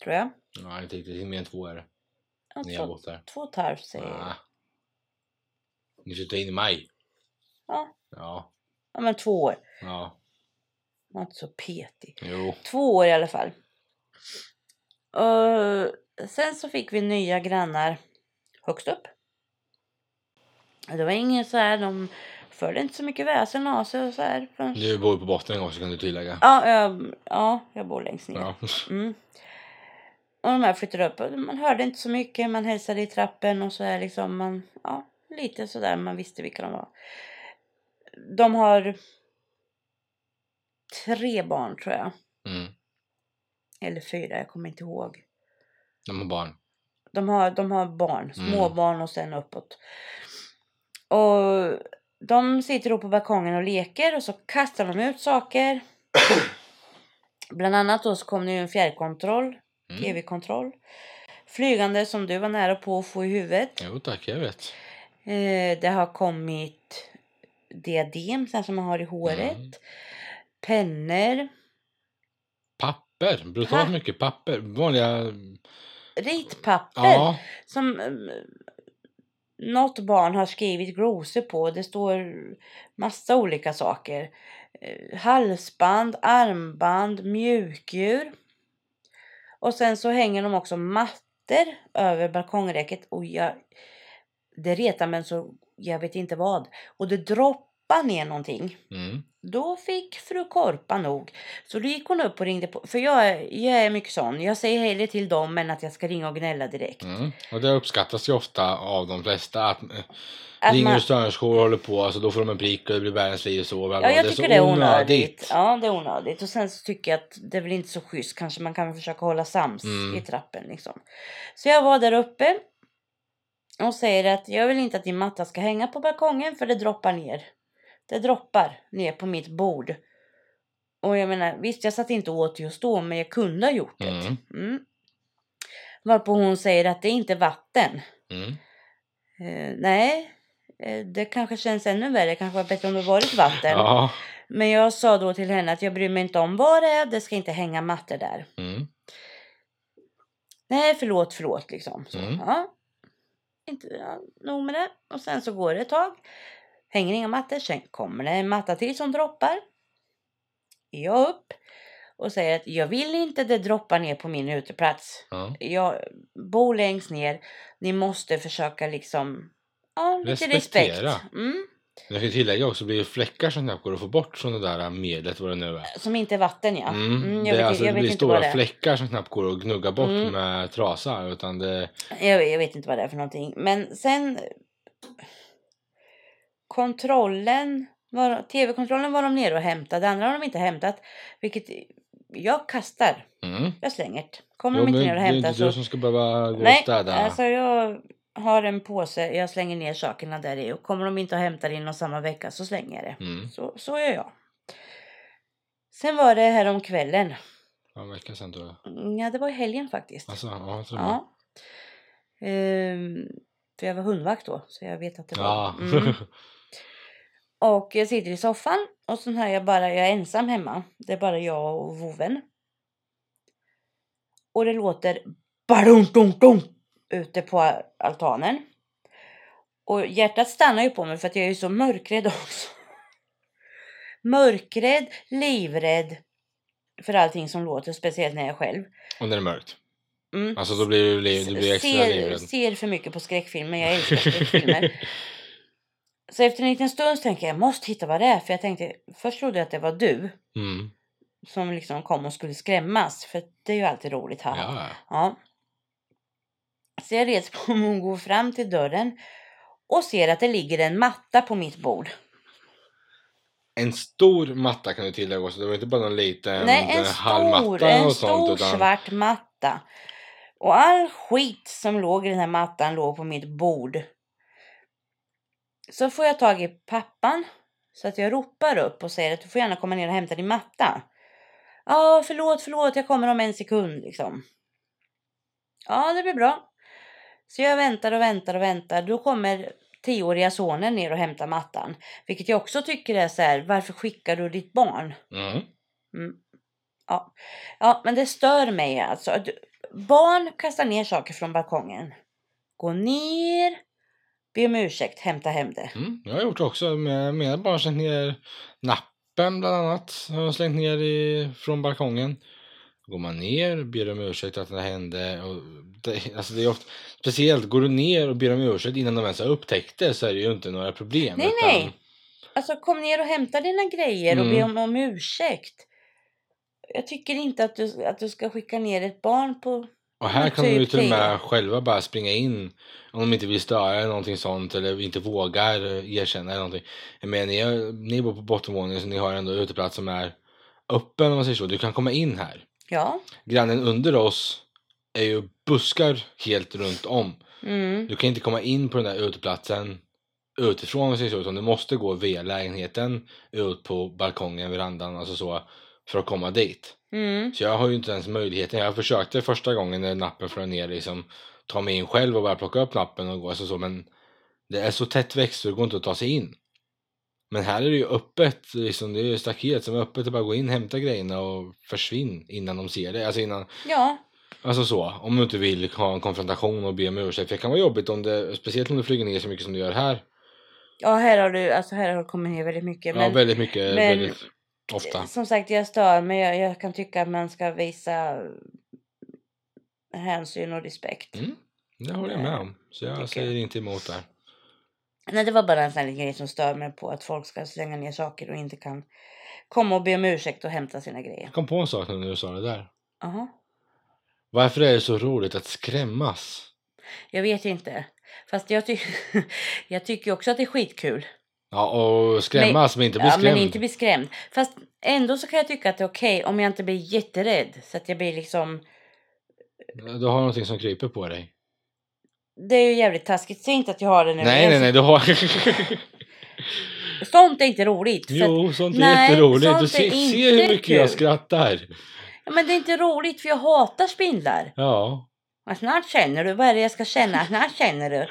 Tror jag. Nej, inte riktigt. Det är Mer än två är det. Ja, Ni har två, bott där. två och ett halvt säger jag. Ah. Ni flyttade in i maj. Ja. Ja. Ja men två år. Ja. Man är inte så petig. Jo. Två år i alla fall. Eh, sen så fick vi nya grannar högst upp. Det var ingen så här, de förde inte så mycket väsen av sig och så här. Du bor på botten en gång så kan du tillägga. Ja, jag, ja, jag bor längst ner. Ja. Mm. Och de här flyttade upp. och Man hörde inte så mycket. Man hälsade i trappen och så där liksom. Man, ja, lite sådär. Man visste vilka de var. De har tre barn tror jag. Mm. Eller fyra, jag kommer inte ihåg. De har barn. De har, de har barn, Mm. småbarn och sen uppåt. Och de sitter då på balkongen och leker och så kastar de ut saker. Bland annat då så kom det ju en fjärrkontroll Mm. TV-kontroll. Flygande som du var nära på att få i huvudet. Jo tack, jag vet. Eh, det har kommit diadem så här som man har i håret. Mm. Pennor. Papper. Brutalt Pa- mycket papper. Vanliga... Ritpapper Ja. som eh, något barn har skrivit glosor på. Det står massa olika saker. Eh, halsband, armband, mjukdjur. Och sen så hänger de också mattor över balkongräcket. Och jag, det retar mig så jag vet inte vad. Och det droppar ner någonting. Mm. Då fick fru Korpa nog. Så då gick hon upp och ringde på. För jag, är- jag är mycket sån. Jag säger hellre till dem än att jag ska ringa och gnälla direkt. Mm. Och det uppskattas ju ofta av de flesta att, eh, Att ringer man- du störningsjour och håller på alltså då får de en prick och det blir världens liv och så. bla, bla. Ja, jag är tycker så det är onödigt. Ja, det är onödigt. Och sen så tycker jag att det är väl inte så schysst. Kanske man kan försöka hålla sams Mm. i trappen liksom. Så jag var där uppe och säger att jag vill inte att din matta ska hänga på balkongen för det droppar ner. Det droppar ner på mitt bord. Och jag menar, visst jag satt inte åt just då men jag kunde ha gjort det. Mm. Mm. Varpå hon säger att det är inte vatten. Mm. Eh, nej, eh, det kanske känns ännu värre. Det kanske var bättre om det varit vatten. Ja. Men jag sa då till henne att jag bryr mig inte om vad det är, det ska inte hänga mattor där. Mm. Nej, förlåt, förlåt liksom. Så, Mm. ja. Inte ja, nog med det. Och sen så går det ett tag. Hänger inga mattor. Sen kommer det en matta till som droppar. Jag upp och säger att jag vill inte det droppar ner på min uteplats. ja. Jag bor längst ner. Ni måste försöka liksom, ja, lite Respektera. respekt. Mm. Jag kan tillägga också, blir det fläckar som knappt går att få bort från det där medlet vad det nu är. Som inte är vatten ja. Mm. Mm, jag det, är vet, alltså, jag det vet blir inte vad stora det är. fläckar som knappt går att gnugga bort Mm. med trasa. Utan det, Jag, jag vet inte vad det är för någonting. Men sen... Kontrollen... Var, TV-kontrollen var de nere och hämtade. Andra har de inte hämtat. Vilket... Jag kastar. mm. Jag slänger det. Kommer Jo, de men inte det ner och är hämtar inte du så... som ska behöva gå Nej, och städa. alltså jag har en påse. Jag slänger ner sakerna där i. Och kommer de inte och hämtar det inom samma vecka så slänger jag det. Mm. Så, så gör jag. Sen var det här om kvällen. Ja, en vecka sedan tror jag. Mm, Ja, det var i helgen faktiskt. Alltså, ja, jag tror det. Ja. Ehm, för jag var hundvakt då, så jag vet att det var. Ja. Mm. Och jag sitter i soffan och så hör jag bara, jag är ensam hemma. Det är bara jag och vovven. Och det låter badum-dum-dum ute på altanen. Och hjärtat stannar ju på mig för att jag är ju så mörkrädd också. mörkrädd, livrädd för allting som låter, speciellt när jag är själv. Om det är mörkt. Mm. Alltså då blir du, li- du blir extra ser, livrädd. ser för mycket på skräckfilmer, jag älskar skräckfilmer. Så efter en liten stund så tänkte jag, jag måste hitta vad det är. För jag tänkte, först trodde jag att det var du Mm. som liksom kom och skulle skrämmas. För det är ju alltid roligt. Haha. Ja. Ja. Så jag reser på mig och går fram till dörren och ser att det ligger en matta på mitt bord. En stor matta kan du tillägga också. Det var inte bara någon liten Nej, en eh, halvmatta stor, eller en något stor sånt. Utan, svart matta. Och all skit som låg i den här mattan låg på mitt bord. Så får jag tag i pappan så att jag ropar upp och säger att du får gärna komma ner och hämta din matta. Ja, förlåt, förlåt, jag kommer om en sekund liksom. Ja, det blir bra. Så jag väntar och väntar och väntar. Då kommer tioåriga sonen ner och hämtar mattan. Vilket jag också tycker är så här, varför skickar du ditt barn? mm. Ja. ja, men det stör mig alltså. Att barn kastar ner saker från balkongen. Gå ner, be om ursäkt, hämta hem det. Mm. Jag har gjort det också. Med, med bara slängt ner nappen bland annat. Har jag slängt ner i, från balkongen. Går man ner ber om ursäkt att det hände. Och det, alltså det är ofta, speciellt går du ner och ber om ursäkt innan de ens har upptäckt det så är det ju inte några problem. Nej, nej. Alltså kom ner och hämta dina grejer och be Mm. om, om ursäkt. Jag tycker inte att du, att du ska skicka ner ett barn på... Och här Men kan de ju typ till och det. med själva bara springa in om de inte vill störa eller någonting sånt eller inte vågar eh, erkänna eller någonting. Jag menar, ni, har- ni bor på bottenvåningen så ni har ändå uteplats som är öppen om man säger så. Du kan komma in här. Ja. Grannen under oss är ju buskar helt runt om. Mm. Du kan inte komma in på den där uteplatsen utifrån om man säger så utan du måste gå via lägenheten ut på balkongen, verandan, alltså så för att komma dit. Mm. Så jag har ju inte ens möjligheten. Jag försökte första gången när nappen flög ner liksom ta mig in själv och bara plocka upp nappen och gå alltså så men det är så tätt växt så det går inte att ta sig in. Men här är det ju öppet, liksom, det är ju staket som är öppet. Det är bara att gå in, hämta grejerna och försvinn innan de ser det. Alltså, innan, Ja. alltså så, om du inte vill ha en konfrontation och be om ursäkt. För det kan vara jobbigt, om det, speciellt om du flyger ner så mycket som du gör här. Ja, här har du, alltså här har du kommit ner väldigt mycket. ja, men- väldigt mycket, men- väldigt ofta. Som sagt, jag stör mig. Jag, jag kan tycka att man ska visa hänsyn och respekt. Mm, det håller jag med om. Så tycker jag jag. säger inte emot där. Nej, det var bara en sån här liten grej som stör mig på att folk ska slänga ner saker och inte kan komma och be om ursäkt och hämta sina grejer. Jag kom på en sak nu när du sa det där. Jaha, Varför är det så roligt att skrämmas? jag vet inte. Fast jag, ty- jag tycker ju också att det är skitkul. Ja, och skrämmas men, inte bli ja, skrämd. men inte bli skrämd. Fast ändå så kan jag tycka att det är okej om jag inte blir jätterädd. Så att jag blir liksom... Du har någonting som kryper på dig. Det är ju jävligt taskigt. Säg inte att jag har det nu. Nej, Jag- nej, nej, du har... Sånt är inte roligt. för att- jo, sånt är Nej, jätteroligt. sånt Du är ser, ser inte hur mycket jag kul. skrattar. Ja, men det är inte roligt för jag hatar spindlar. Ja. Ja, Snart känner du. Vad är det jag ska känna? Snart känner du.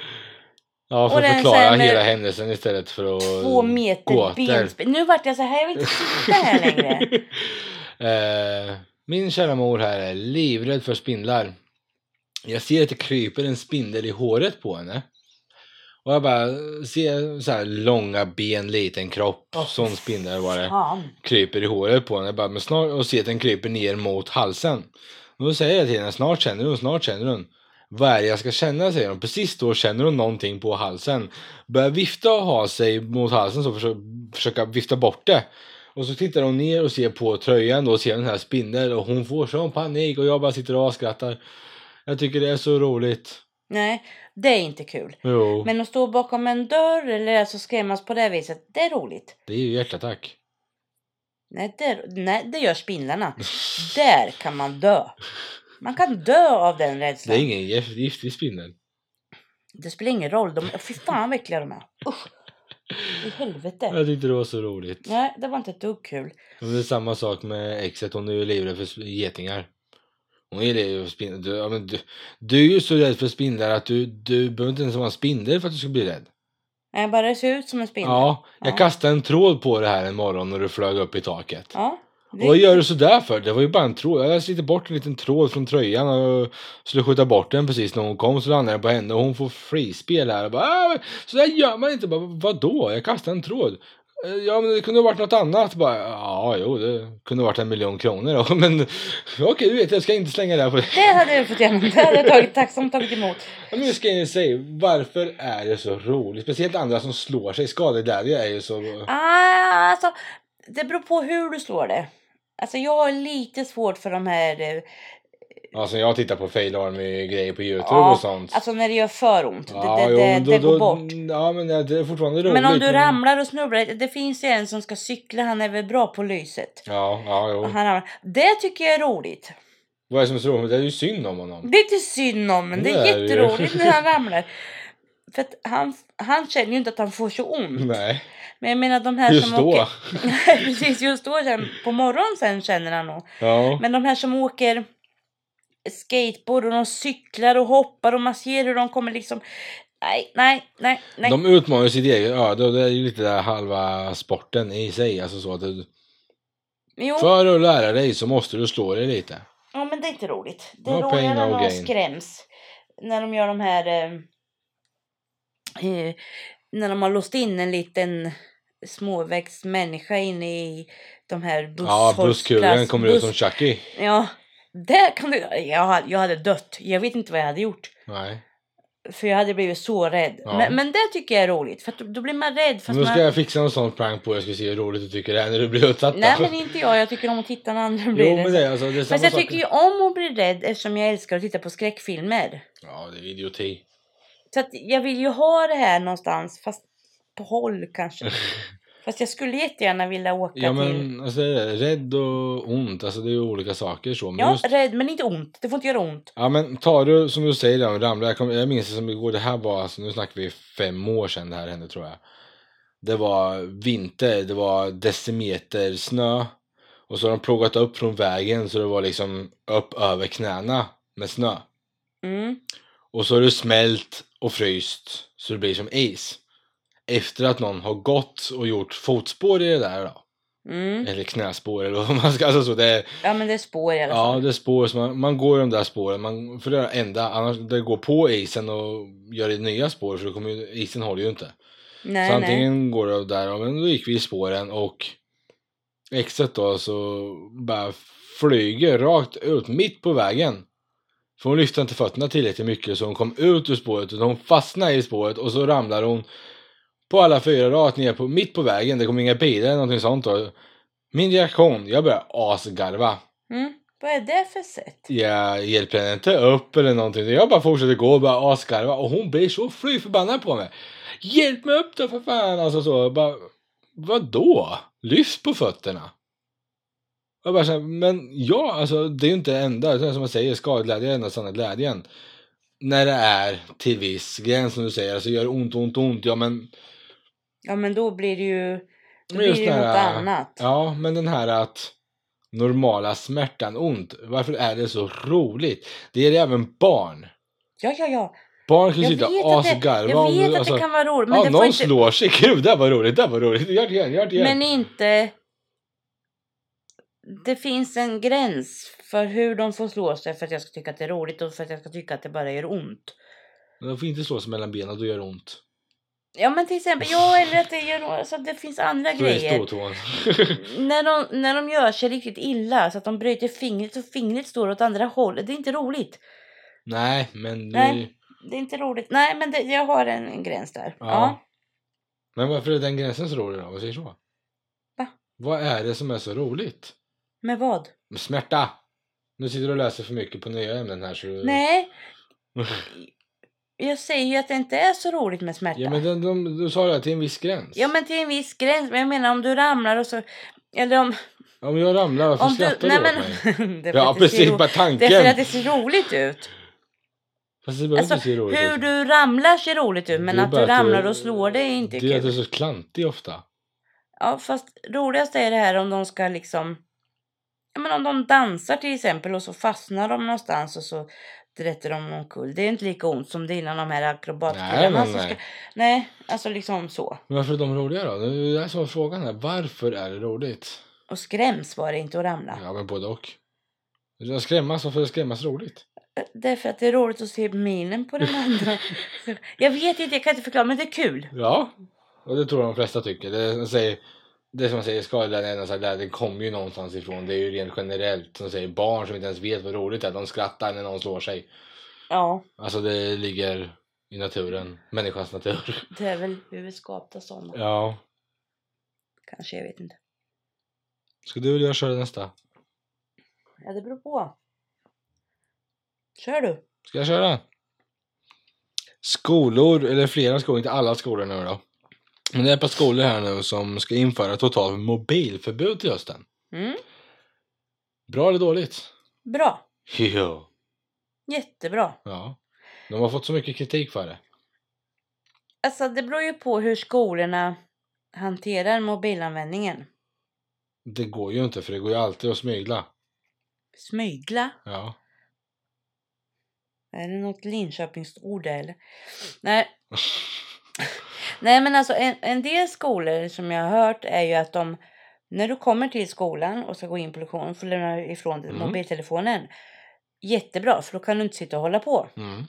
Ja, för Och att den förklara sen med hela händelsen istället för att... Två meter gåtor. benspel. Nu vart jag så här. Jag vill inte sitta här längre. eh, min kära mor här är livrädd för spindlar. Jag ser att det kryper en spindel i håret på henne. Och jag bara ser så här långa ben, liten kropp. Åh, sån spindel var det. Fan. Kryper i håret på henne. Jag Bara, men snart, och ser att den kryper ner mot halsen. Och då säger jag till henne, snart känner hon, snart känner hon. Vad är det jag ska känna, säger hon. Precis då känner hon någonting på halsen. Börjar vifta och ha sig mot halsen, så försöka, försöka vifta bort det. Och så tittar hon ner och ser på tröjan då och ser den här spindeln och hon får sån panik och jag bara sitter och skrattar. Jag tycker det är så roligt. Nej, det är inte kul. Jo, Men att stå bakom en dörr eller alltså skrämmas på det viset, det är roligt. det är ju hjärtattack. Nej det, nej, det gör spindlarna. Där kan man dö. Man kan dö av den Det är rädslan. ingen gift- giftig spindel. Det spelar ingen roll. De, fy fan vad äckliga de är. Usch. I helvete. Jag tyckte det var så roligt. Nej, det var inte ett dugg kul. Men det är samma sak med exet, hon är ju livrädd för sp- getingar. Hon är livrädd för spindlar. Du, ja, men du, du är ju så rädd för spindlar att du, du behöver inte ens vara en spindel för att du ska bli rädd. Nej, Jag bara ser ut som en spindel. Ja, jag Ja. kastade en tråd på det här en morgon när du flög upp i taket. Ja, Och Vad det, gör du sådär för? Det var ju bara en tråd. Jag sliter bort en liten tråd från tröjan och skulle skjuta bort den precis när hon kom så landade den på henne och hon får frispel här. Och bara, "Ah, men sådär gör man inte. Bara, Vadå? Jag kastade en tråd. Eh, Ja, men det kunde ha varit något annat. Bara, ja, jo, det kunde ha varit en miljon kronor då. Men okej, du vet, jag ska inte slänga det här på dig. Det hade du fått igenom. Det hade jag tagit, tacksamt tagit emot. Ja, Men nu ska jag säga, varför är det så roligt? Speciellt andra som slår sig. Skadeglädje är ju så... Ah, alltså, det beror på hur du slår det. Alltså jag har lite svårt för de här... eh, Alltså jag tittar på fail army-grejer på YouTube Ja, och sånt. Alltså när det gör för ont. Ja, det det, jo, det, men då- det då- går bort. Ja, men det det är fortfarande roligt. Men om du ramlar och snubblar. Det finns ju en som ska cykla. Han är väl bra på lyset. Ja, ja, jo. Och Han ramlar. Det tycker jag är roligt. Vad är det som är så roligt? Det är ju synd om honom. Det är inte synd om men det Det är är det ju. jätteroligt när han ramlar. För att han, han känner ju inte att han får så ont. Nej, Men jag menar de här just som åker... då. Nej, precis. Just då, sen, på morgonen sen känner han nog. Ja. Men de här som åker skateboard och de cyklar och hoppar och man ser hur de kommer liksom... Nej, nej, nej, nej. De utmanar sitt eget öde och det är ju lite där halva sporten i sig. Alltså så att du, jo, för att lära dig så måste du slå dig lite. ja, men det är inte roligt. Det No är pain, roligare när no någon gain. skräms. När de gör de här... Eh, eh, när de har låst in en liten småväxt människa inne i de här Ja, busshållsplats... busskulan kommer ut som buss- Chucky. Ja, där kan du... Jag, hade- jag hade dött. Jag vet inte vad jag hade gjort. Nej. För jag hade blivit så rädd. Ja. Men, men det tycker jag är roligt. För att då, då blir man rädd. Fast nu man... ska jag fixa en sån prank på er, jag ska se hur roligt du tycker det är när du blir utsatt. Nej men inte jag. Jag tycker om att titta när andra blir Jo det. men det är alltså, det är samma Fast jag sak. tycker ju om att bli rädd eftersom jag älskar att titta på skräckfilmer. Ja, det är idioti. Så att jag vill ju ha det här någonstans. Fast på håll kanske. fast jag skulle jättegärna vilja åka Ja till... men alltså, det är rädd och ont, alltså det är ju olika saker så. Men Ja, just, rädd men inte ont. Det får inte göra ont. ja men tar du, som du säger, där, och ramlar. Jag, kom, jag minns det som igår, det här var, alltså, nu snackar vi fem år sedan det här hände tror jag. Det var vinter, det var decimeter snö. Och så har de plogat upp från vägen så det var liksom upp över knäna med snö. Mm. Och så har du smält och fryst så det blir som is. Efter att någon har gått och gjort fotspår i det där då. Mm. Eller knäspår eller vad man ska, alltså så det är, Ja men det är spår i alla fall. ja det är spår som man, man går i de där spåren, man får göra ända, annars det går på isen och gör det nya spår för då kommer ju, isen håller ju inte. nej, så nej. antingen går det där, ja, men då gick vi i spåren och exet då så bara flyger rakt ut mitt på vägen. För hon lyfte inte fötterna tillräckligt mycket så hon kom ut ur spåret och hon fastnade i spåret och så ramlar hon på alla fyra rakt ner på, mitt på vägen. Det kom inga bilar eller någonting sånt då. Min reaktion, jag började asgarva. Mm. Vad är det för sätt? Jag hjälper henne inte upp eller någonting. Jag bara fortsätter gå och bara asgarva och hon blir så fly förbannad på mig. Hjälp mig upp då för fan! Alltså så bara. Vadå? Lyft på fötterna. Jag bara såhär, men ja, alltså det är ju inte det enda. Utan som jag säger, skadeglädje är enda sanna glädjen. När det är till viss gräns som du säger, alltså gör ont, ont, ont. Ja men. Ja men då blir det ju... Då Men blir just det ju det något här- annat. Ja, men den här att normala smärtan, ont. Varför är det så roligt? Det gäller även barn. Ja, ja, ja. Barn kan ju Jag sitta vet, att det, asgarva. jag om du- vet att alltså, det kan vara roligt. Men, ja, det någon får inte, slår sig. Gud, det här var roligt. Det här var roligt. Gör det igen, gör det igen. men inte... Det finns en gräns för hur de får slå sig för att jag ska tycka att det är roligt och för att jag ska tycka att det bara gör ont. De får inte slå sig mellan benen, då gör det ont. Ja men till exempel, ja eller att det gör ont. Alltså det finns andra Då är grejer. ståtån. När de, när de gör sig riktigt illa så att de bryter fingret och fingret står åt andra hållet. Det är inte roligt. Nej, men... det- Nej. Det är inte roligt. Nej men det, jag har en, en gräns där. Ja. ja. Men varför är den gränsen så rolig då? Vad säger så? Va? Vad är det som är så roligt? Med vad? Smärta! Nu sitter du och läser för mycket på nya ämnen här så du... Nej. Jag säger ju att det inte är så roligt med smärta. Ja men de, de, du sa det här till en viss gräns. Ja men till en viss gräns. Men jag menar om du ramlar och så... Eller om... Om jag ramlar, varför om skrattar du nej, åt men, mig? det är för Ja att det ser precis, ro- bara Det är för att tanken! det ser roligt ut. Fast det behöver Alltså inte se roligt hur ut. du ramlar ser roligt ut. Men Det är att bara du ramlar och slår dig är inte Det är att du är kul. så klantig ofta. Ja fast roligast är det här om de ska liksom... Ja men om de dansar till exempel och så fastnar de någonstans och så drätter de omkull. Det är inte lika ont som det är innan de här Nej, akrobatkillarna men, som ska... nej. Nej, alltså liksom så. Men varför är de roliga då? Det är det som är frågan här. Varför är det roligt? Och skräms var det inte att ramla. Ja, men både och. Jag skrämmas, varför är det skrämmas roligt? Det är för att det är roligt att se minen på den andra. jag vet inte, jag kan inte förklara, men det är kul. Ja, Och det tror jag de flesta tycker. Det, de säger, det som man säger, skadelärdning kommer ju någonstans ifrån. Det är ju rent generellt. Som säger, barn som inte ens vet vad roligt är, de skrattar när någon slår sig. Ja, Alltså det ligger i naturen. Människans natur. det är väl hur vi skapar sådana. Ja. Kanske, jag vet inte. Ska du eller jag köra nästa? Ja, det beror på. Kör du. Ska jag köra? Skolor, eller flera skolor, inte alla skolor nu då. Men det är ett par skolor här nu som ska införa totalt mobilförbud till hösten. Mm. Bra eller dåligt? Bra. Jo. Jättebra. Ja. De har fått så mycket kritik för det. Alltså, det beror ju på hur skolorna hanterar mobilanvändningen. Det går ju inte för det går ju alltid att smygla. Smygla. Ja. Är det något Linköpingsord där, eller? Nej. Nej men alltså en, en del skolor som jag har hört är ju att de när du kommer till skolan och ska gå in på lektionen får du lämna ifrån dig Mm. mobiltelefonen. Jättebra för då kan du inte sitta och hålla på. Mm.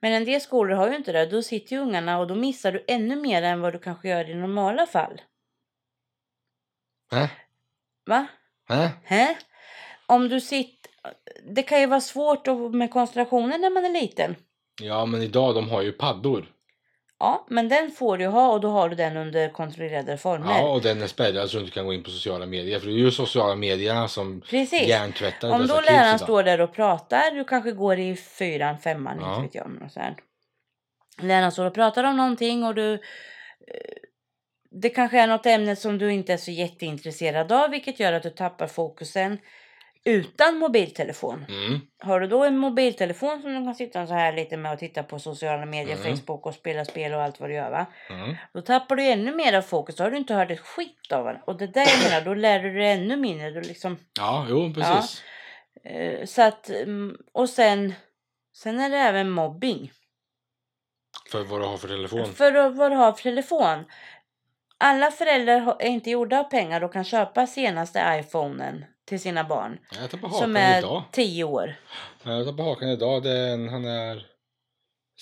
Men en del skolor har ju inte det. Då sitter ju ungarna och då missar du ännu mer än vad du kanske gör i normala fall. Hä? Va? Hä? Hä? Om du sitter... Det kan ju vara svårt att- med koncentrationen när man är liten. Ja men idag de har ju paddor. Ja, men den får du ha och då har du den under kontrollerade former. Ja och den är spärrad så du inte kan gå in på sociala medier. För det är ju sociala medierna som Precis. hjärntvättar Om dessa då kids läraren idag. står där och pratar, du kanske går i fyran, femman, Ja. inte vet jag om något sånt. Läraren står och pratar om någonting och du... eh, Det kanske är något ämne som du inte är så jätteintresserad av, vilket gör att du tappar fokusen utan mobiltelefon. Mm. Har du då en mobiltelefon som du kan sitta så här lite med och titta på sociala medier, Mm. Facebook och spela spel och allt vad du gör va? Mm. Då tappar du ännu mer av fokus. Då har du inte hört ett skit av varandra. Och det där jag menar, då lär du dig ännu mindre. Då liksom, Ja jo precis. eh, så att, mm, och sen, sen är det även mobbing. För vad du har för telefon. För att- vad du har för telefon. Alla föräldrar har- är inte gjorda av pengar och kan köpa senaste iPhonen till sina barn. Jag tappade hakan som är idag. 10 år. Jag tappade hakan idag. Det är en, han är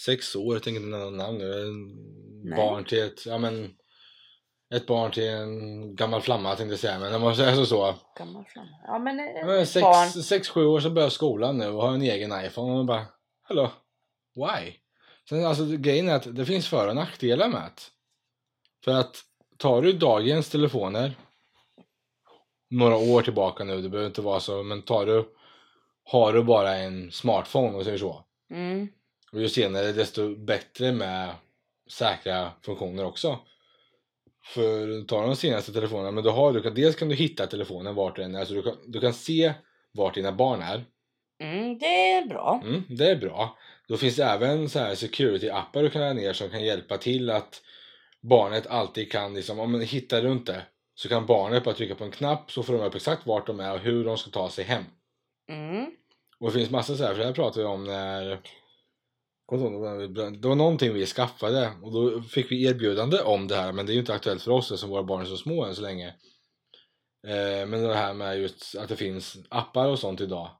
sex år. Jag tänker inte nämna något namn nu. Det är en Nej. Barn till ett, ja men. Ett barn till en gammal flamma tänkte jag säga. Men om man säger så. så. Gammal flamma. Ja men eh, Ja, men Sex, barn. sex, sju år så börjar skolan nu och har en egen iPhone. Och man bara, hallå, why? Sen, alltså, grejen är att det finns för och nackdelar med det. För att tar du dagens telefoner några år tillbaka nu, det behöver inte vara så, men tar du, har du bara en smartphone och säger så. Mm. Och ju senare desto bättre med säkra funktioner också. För tar de senaste telefonerna, men då har du, dels kan du hitta telefonen vart den är, så du kan, du kan se vart dina barn är. Mm, det är bra. Mm, det är bra. Då finns det även så här security-appar du kan ladda ner som kan hjälpa till att barnet alltid kan, liksom, om man hittar du inte, så kan barnet bara trycka på en knapp så får de upp exakt vart de är och hur de ska ta sig hem. Mm. Och det finns massa så här, för det här pratade vi om när... Kommer inte ihåg när vi- Det var någonting vi skaffade och då fick vi erbjudande om det här men det är ju inte aktuellt för oss eftersom våra barn är så små än så länge. Eh, men det här med just att det finns appar och sånt idag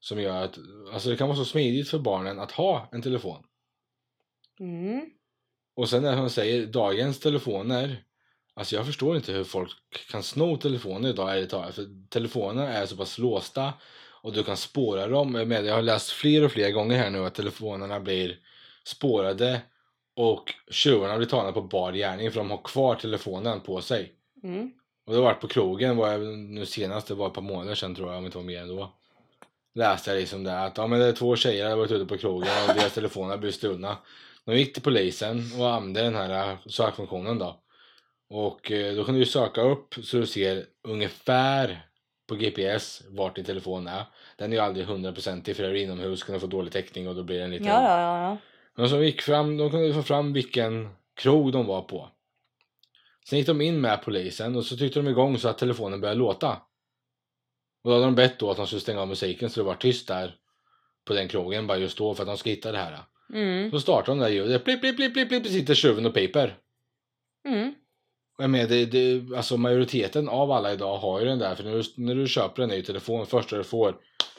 som gör att alltså det kan vara så smidigt för barnen att ha en telefon. Mm. Och sen när hon säger dagens telefoner. Alltså jag förstår inte hur folk kan sno telefoner idag ärligt talat. För telefonerna är så pass låsta och du kan spåra dem. Jag menar, Jag har läst fler och fler gånger här nu att telefonerna blir spårade och tjuvarna blir tagna på bar gärning för de har kvar telefonen på sig. Mm. Och det har varit på krogen var jag nu senast, det var ett par månader sedan tror jag om det inte var mer än då. Läste jag liksom det att ja, men det är två tjejer som varit ute på krogen och deras telefoner har blivit stulna. De gick till polisen och använde den här äh, sökfunktionen då. Och eh, då kan du ju söka upp så du ser ungefär på GPS vart din telefon är. Den är ju aldrig hundraprocentig för är du inomhus kan du få dålig täckning och då blir den lite... Ja, ja, ja, ja. Men som gick fram, de kunde få fram vilken krog de var på. Sen gick de in med polisen och så tyckte de igång så att telefonen började låta. Och då hade de bett då att de skulle stänga av musiken så det var tyst där på den krogen bara just då för att de ska hitta det här. Mm. Så startade de det här ljudet, blipp, blipp, blipp, blipp, blipp, sitter tjuven och piper. Mm. Och Jag menar, det, det, alltså majoriteten av alla idag har ju den där för när du, när du köper en ny telefon, första du får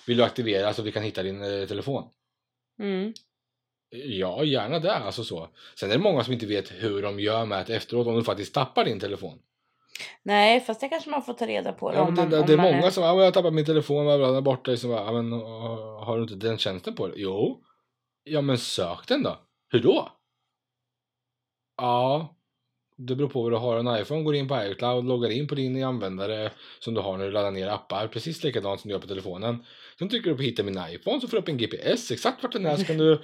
vill du aktivera så att vi kan hitta din eh, telefon. Mm. Ja, gärna det. Alltså så. Sen är det många som inte vet hur de gör med att efteråt om du faktiskt tappar din telefon. Nej, fast det kanske man får ta reda på. då, Ja, om men det, man- det, om det är man många som ja, men jag tappar min telefon, bla, bla, den är borta. Liksom, ja, men, har har du inte den tjänsten på dig? Jo. Ja, men sök den då. Hur då? Ja, det beror på vad du har. En iPhone går in på iCloud, loggar in på din användare som du har när du laddar ner appar. Precis likadant som du gör på telefonen. Sen trycker du på hitta min iPhone så får du upp en GPS exakt vart den är så kan du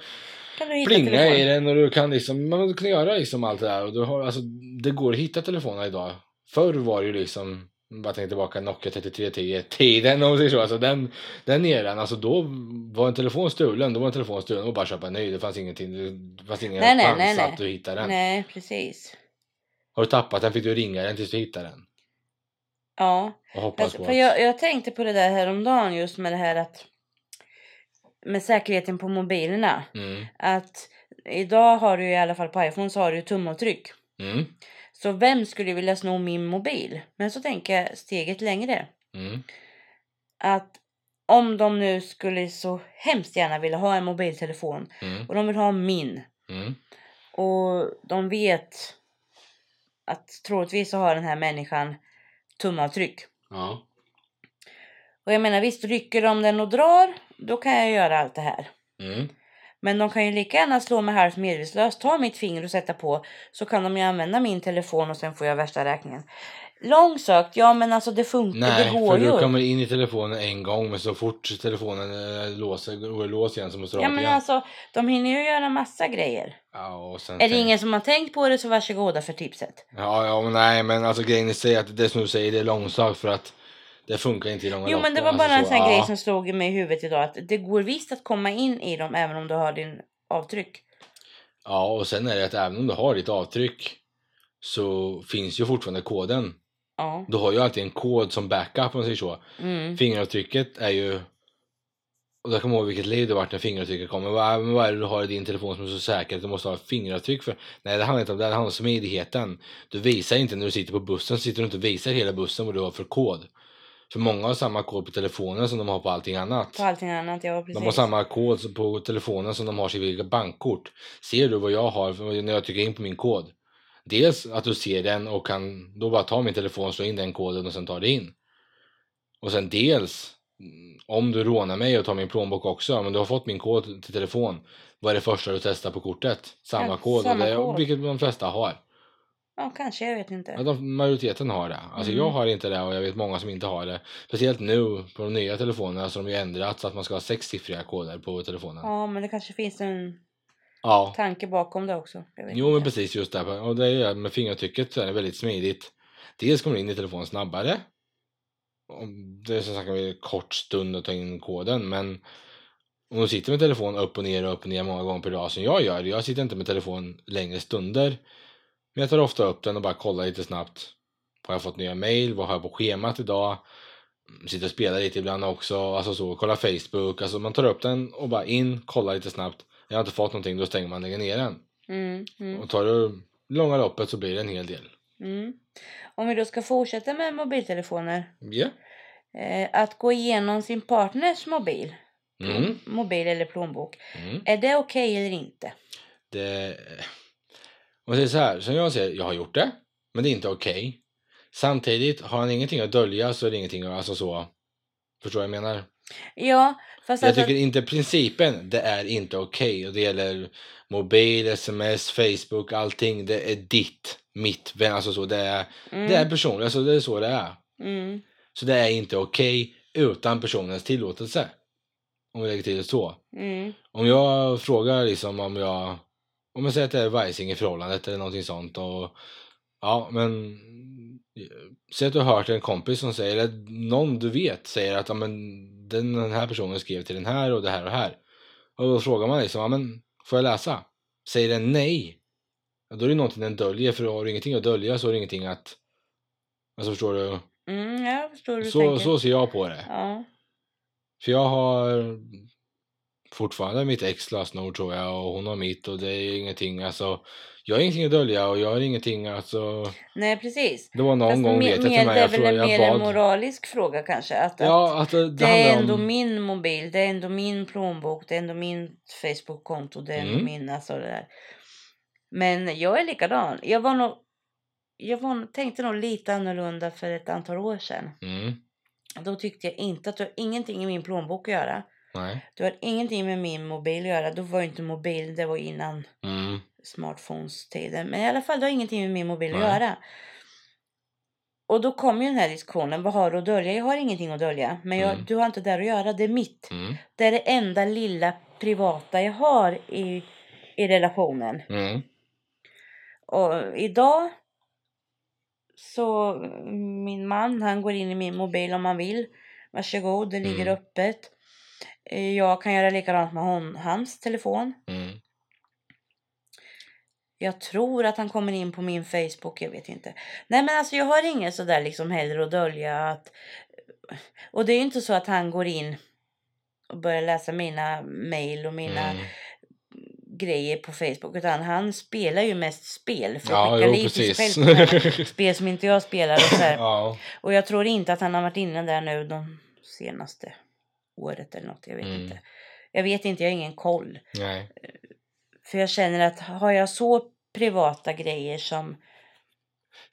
kan du hitta plinga i telefonen. den och du kan liksom, man kan göra liksom allt det där. Och du har, alltså, det går att hitta telefoner idag. Förr var det ju liksom, om bara tänker tillbaka, Nokia 3310-tiden om man säger så. Alltså den, den eran, alltså då var en telefon stulen, då var en telefon stulen och bara att köpa en ny. Det fanns ingenting, det fanns ingen Nej, nej, chans nej, nej. att du hittade den. Nej, precis. Har du tappat den fick du ringa den tills du hittade den. Ja, Och hoppas alltså, på för att... jag, jag tänkte på det där häromdagen just med det här att med säkerheten på mobilerna. Mm, Att idag har du ju i alla fall på iPhone så har du ju tumavtryck. mm, Så vem skulle vilja sno min mobil? Men så tänker jag steget längre. mm, Att om de nu skulle så hemskt gärna vilja ha en mobiltelefon mm, och de vill ha min mm, och de vet att troligtvis så har den här människan tumavtryck. ja. Och jag menar visst, rycker de den och drar, då kan jag göra allt det här. Mm, Men de kan ju lika gärna slå mig halvt medvetslös, ta mitt finger och sätta på, så kan de ju använda min telefon och sen får jag värsta räkningen. Långsökt, ja men alltså det funkar, Nej, det för går du ju. kommer in i telefonen en gång men så fort telefonen eh, låser, går i lås igen så måste du Ja ha den men igen. alltså, de hinner ju göra massa grejer. Ja, och sen Är det tänk- ingen som har tänkt på det så varsågoda för tipset. Ja, ja, men nej, men alltså grejen i sig är att det som du säger, det är långsökt för att det funkar inte i långa Jo men det loppet, var bara en alltså sån här så, grej ja. som slog mig i huvudet idag att det går visst att komma in i dem även om du har din avtryck. Ja, och sen är det att även om du har ditt avtryck så finns ju fortfarande koden. Ja. Du har ju alltid en kod som backup om man säger så. Mm. Fingeravtrycket är ju... Och jag kommer ihåg vilket liv det vart när fingeravtrycket kom. Men vad, men vad är det du har i din telefon som är så säkert att du måste ha ett fingeravtryck för? Nej, det handlar inte om det. Det handlar om smidigheten. Du visar inte när du sitter på bussen. Så sitter du inte och visar hela bussen vad du har för kod. För många har samma kod på telefonen som de har på allting annat. På allting annat, ja precis. De har samma kod som på telefonen som de har sitt vilka bankkort. Ser du vad jag har för- när jag trycker in på min kod? Dels att du ser den och kan då bara ta min telefon, slå in den koden och sen ta det in. Och sen dels mm, om du rånar mig och tar min plånbok också, ja, men du har fått min kod till telefon. Vad är det första du testar på kortet? Samma Ja, kod, samma och det, kod. vilket de flesta har. Ja kanske, jag vet Ja, inte. de, majoriteten har det. Alltså Mm. jag har inte det och jag vet många som inte har det. Speciellt nu på de nya telefonerna så har de ju ändrat så att man ska ha sexsiffriga koder på telefonen. Ja men det kanske finns en Ja, tanke bakom det också. Jag vet jo men inte. precis just där. Och det är ju med fingeravtrycket så är det väldigt smidigt. Dels kommer du in i telefonen snabbare. Och det är som sagt en kort stund att ta in koden men om du sitter med telefon upp och ner och upp och ner många gånger per dag som jag gör. Jag sitter inte med telefon längre stunder. Men jag tar ofta upp den och bara kollar lite snabbt. Har jag fått nya mejl? Vad har jag på schemat idag? Sitter och spelar lite ibland också. Alltså så, kollar Facebook. Alltså man tar upp den och bara in, kollar lite snabbt. Jag har inte fått någonting, då stänger man och lägger ner den. Mm, mm, Och tar du långa loppet så blir det en hel del. mm. Om vi då ska fortsätta med mobiltelefoner. Ja. Eh, att gå igenom sin partners mobil, Mm. mobil eller plånbok. Mm. Är det okej eller inte? Det... Om jag säger så här, som jag säger, jag har gjort det, men det är inte okej. Samtidigt, har han ingenting att dölja så är det ingenting att, alltså så. Förstår jag vad jag menar? Ja, fast Jag alltså... tycker inte principen, det är inte okej. Och det gäller mobil, sms, Facebook, allting. Det är ditt, mitt, vem, alltså så. Det är, mm, det är personligt, alltså det är så det är. mm, Så det är inte okej utan personens tillåtelse. Om vi lägger till det så. mm, Om jag frågar liksom om jag, om jag säger att det är vajsing i förhållandet eller någonting sånt och ja men säg att du har hört en kompis som säger, eller någon du vet säger att ja, men, den, den här personen skrev till den här och det här och det här. Och då frågar man liksom, ja men får jag läsa? Säger den nej, ja, då är det någonting den döljer för har du ingenting att dölja så har du ingenting att, alltså förstår du? mm, jag förstår hur du Så, tänker. så ser jag på det. Ja. För jag har fortfarande mitt ex lösenord tror jag och hon har mitt och det är ingenting alltså. Jag har ingenting att dölja och jag har ingenting alltså. Nej, precis. Det var någon Fast gång me- vet jag mer, till det mig. är Jag väl frågade, en, mer en jag bad. moralisk fråga kanske. Att, att Ja, att det, det, det är handlar ändå om. min mobil, det är ändå min plånbok, det är ändå min Facebook-konto, det är ändå Mm. min alltså det där. Men jag är likadan. Jag var nog, jag var, nog- tänkte nog lite annorlunda för ett antal år sedan. Mm, Då tyckte jag inte att det har ingenting i min plånbok att göra. nej. Du har ingenting med min mobil att göra. Då var ju inte mobil, det var innan Mm, smartphones-tiden. Men i alla fall, det har ingenting med min mobil att Nej. göra. Och då kom ju den här diskussionen, vad har du att dölja? Jag har ingenting att dölja. Men jag, Mm. du har inte där att göra, det är mitt. mm, Det är det enda lilla privata jag har i, i relationen. mm, Och idag så min man han går in i min mobil om han vill. Varsågod, det ligger Mm. öppet. Eh, Jag kan göra likadant med hon, hans telefon. mm, Jag tror att han kommer in på min Facebook, jag vet inte. Nej men alltså jag har inget sådär liksom hellre att dölja att... Och det är ju inte så att han går in och börjar läsa mina mail och mina mm. grejer på Facebook. Utan han spelar ju mest spel för att Ja, skicka jo liv till sig precis. själv. spel som inte jag spelar. Och, så här. ja, och jag tror inte att han har varit inne där nu de senaste året eller något. Jag vet Mm. inte. Jag vet inte, jag har ingen koll. nej. För jag känner att har jag så privata grejer som,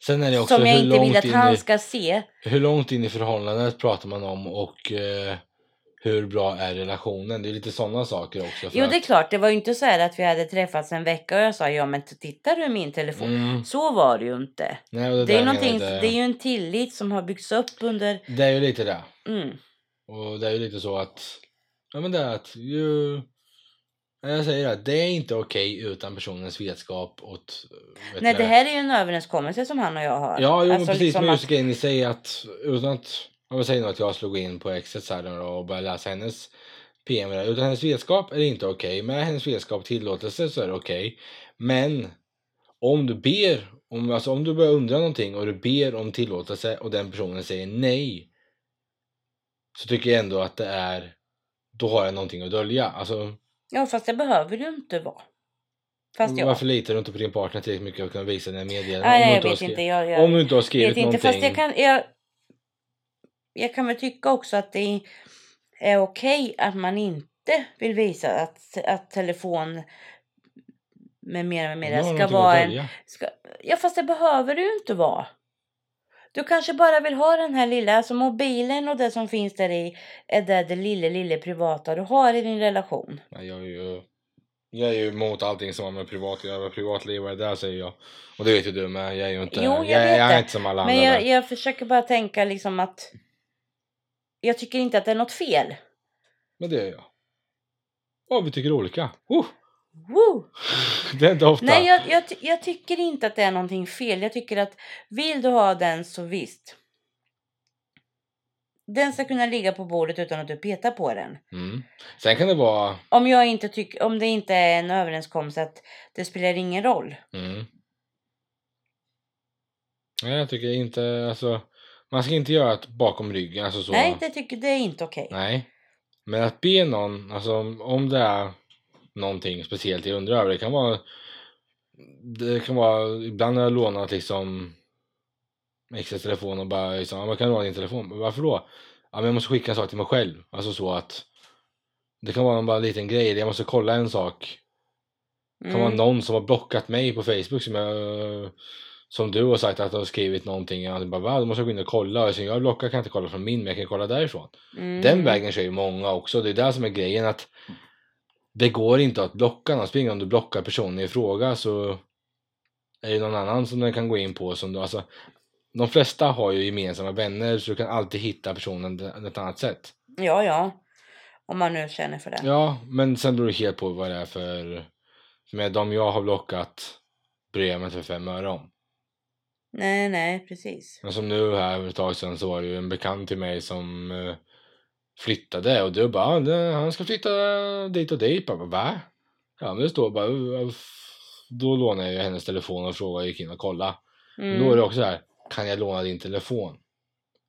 Sen är det också som jag hur inte vill långt att in han i- ska se. Hur långt in i förhållandet pratar man om och eh, hur bra är relationen? Det är lite sådana saker också. för Jo att- det är klart, det var ju inte så här att vi hade träffats en vecka och jag sa ja men tittar du i min telefon? Mm. Så var det ju inte. Nej, och det, Det är, där någonting, menar jag, det är ju en tillit som har byggts upp under... det är ju lite det. Mm, Och det är ju lite så att... Ja men det är att ju... ja, Jag säger att det är inte okej utan personens vetskap åt... vet Nej du det här är ju en överenskapelse som han och jag har. Ja, jo, men Alltså, precis. liksom men att- just grejen i sig att utan att... Om jag säger nu att jag slog in på exet så här nu då och började läsa hennes PM. där, Utan hennes vetskap är det inte okej. Med hennes vetskap och tillåtelse så är det okej. Men om du ber, om, alltså om du börjar undra någonting och du ber om tillåtelse och den personen säger nej. Så tycker jag ändå att det är, då har jag någonting att dölja. Alltså, Ja, fast det behöver du inte vara. Fast jag... varför litar du inte på din partner tillräckligt mycket för att kunna visa dina medier? Nej, om, du jag inte har vet skri- inte. Jag, jag om du inte har skrivit vet inte. någonting. Fast jag kan... Jag, jag kan väl tycka också att det är okej att man inte vill visa att, att telefon med mera, med Nu mera ska har någonting att vara en... dölja. Ska, ja, fast det behöver du ju inte vara. Du kanske bara vill ha den här lilla, alltså mobilen och det som finns där i är det, det lilla, lilla privata du har i din relation. Nej, jag är ju... Jag är ju emot allting som har med privat att göra. Privatliv är det där säger jag. Och det vet ju du men jag är ju inte... Jo, jag jag, vet jag det. är inte som alla andra. Men jag, där. jag försöker bara tänka liksom att jag tycker inte att det är något fel. Men det är jag. Ja, vi tycker olika. Oh, Woo! det är inte ofta. Nej, jag, jag, ty- jag tycker inte att det är någonting fel. Jag tycker att vill du ha den så visst. Den ska kunna ligga på bordet utan att du petar på den. Mm. Sen kan det vara... Om, jag inte tycker, om det inte är en överenskommelse att det spelar ingen roll. Mm. Nej, jag tycker inte... Alltså, man ska inte göra det bakom ryggen. Alltså så. Nej, det, tycker, det är inte okej. Nej. Men att be någon, alltså om, om det är någonting speciellt jag undrar över. Det kan vara, det kan vara, ibland har jag lånat liksom extra telefon och bara liksom, "Ja, man kan låna din telefon. Men Varför då? Ja, men jag måste skicka en sak till mig själv. Alltså så att det kan vara en bara liten grej. Jag måste kolla en sak. Det kan Mm. vara någon som har blockat mig på Facebook som jag som du har sagt att du har skrivit någonting. Och jag bara, va? Då måste jag gå in och kolla. Och sen jag blockar kan jag inte kolla från min, men jag kan kolla därifrån. Mm. Den vägen kör ju många också. Det är där som är grejen att det går inte att blocka någon. Spring om du blockar personen i fråga så är det någon annan som den kan gå in på. Som du, alltså, de flesta har ju gemensamma vänner så du kan alltid hitta personen på ett annat sätt. Ja, ja. Om man nu känner för det. Ja, men sen beror det helt på vad det är för... Med de jag har blockat bryr jag mig inte för fem öre om. Nej, nej, precis. Men som nu här för ett tag sedan så var det ju en bekant till mig som eh, flyttade och du bara "Ah, det- han ska flytta dit och dit. Jag bara va? Ja men det står bara "Uh, f- då lånade jag ju hennes telefon och frågade gick in och kolla. Mm. Då är det också så här kan jag låna din telefon?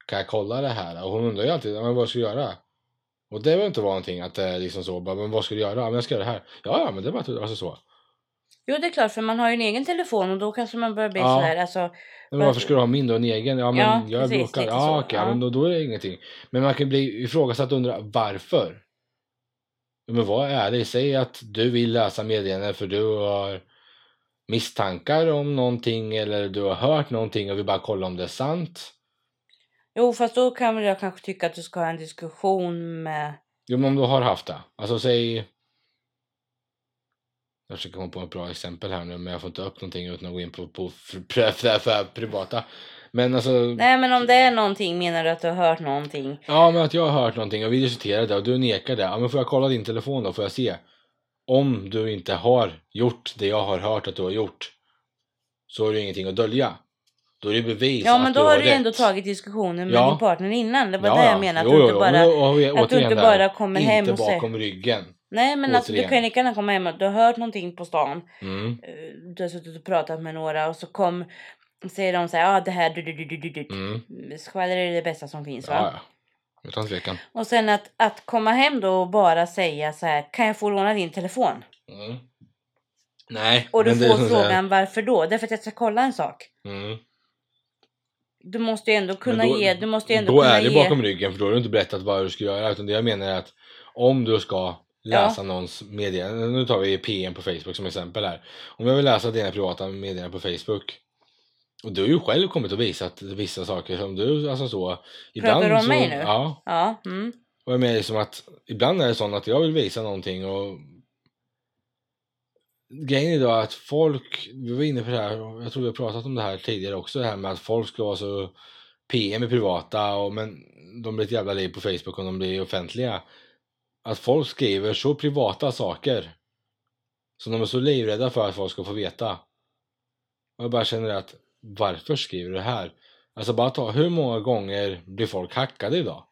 Kan jag kolla det här? Och hon undrar ju alltid "Ja, men vad ska jag göra? Och det behöver inte vara någonting att det är liksom så, bara, men vad ska du göra? Ja, men jag ska göra det här. Ja, ja, men det är bara att- alltså så. Jo, det är klart, för man har ju en egen telefon och då kanske man börjar bli Ja. sådär. Alltså, Nej, Men varför ska du ha min då, en egen? Ja, men Ja, jag är precis, blockad. lite Ja, så. okej, Ja. men då, då är det ingenting. Men man kan bli ifrågasatt och undra varför? Ja, Men var ärlig, säg att du vill läsa meddelanden för du har misstankar om någonting eller du har hört någonting och vill bara kolla om det är sant. jo, fast då kan väl jag kanske tycka att du ska ha en diskussion med... Jo, men om du har haft det. Alltså säg... Jag försöker komma på ett bra exempel här nu, men jag får inte upp någonting utan att gå in på, på, på, privata. Men alltså... Nej, men om det är någonting menar du att du har hört någonting? Ja, men att jag har hört någonting och vi diskuterade det och du nekade. Ja, men får jag kolla din telefon då? Får jag se? Om du inte har gjort det jag har hört att du har gjort så har du ingenting att dölja. Då är det bevis Ja, att men du då har du ju rätt. ändå tagit diskussionen med Ja. din partner innan. Det var Ja, det ja. jag menade. Att du Jo, jo, inte jo, bara, men då har vi att du återigen inte där, bara kommer inte hem och säger... bakom ryggen. Nej, men alltså, du återigen. kan ju lika gärna komma hem och du har hört någonting på stan. Mm, Eh, Du har suttit och pratat med några och så kom... Säger de så här, ja ah, det här du du du du du du. mm. Skvaller är det bästa som finns va? Ja, ja. Utan tvekan. Och sen att, att komma hem då och bara säga så här, kan jag få låna din telefon? Mm. Nej, Och du men det är får som så här- frågan varför då? Därför att jag ska kolla en sak. Mm. Du måste ju ändå kunna Men då- ge, du måste ju ändå Då kunna är det ge. bakom ryggen för då har du inte berättat vad du ska göra utan det jag menar är att om du ska läsa någons meddelande, nu tar vi PM på Facebook som exempel här. Om jag vill läsa dina privata meddelanden på Facebook och du har ju själv kommit och visat vissa saker som du, alltså så. du om så, mig nu? Ja. Ja, mm. Och jag menar liksom att ibland är det sånt att jag vill visa någonting och grejen idag är att folk, vi var inne på det här, och jag tror vi har pratat om det här tidigare också, det här med att folk ska vara så PM i privata och men de blir ett jävla liv på Facebook om de blir offentliga. Att folk skriver så privata saker som de är så livrädda för att folk ska få veta. Och jag bara känner att varför skriver du det här? Alltså bara ta, hur många gånger blir folk hackade idag?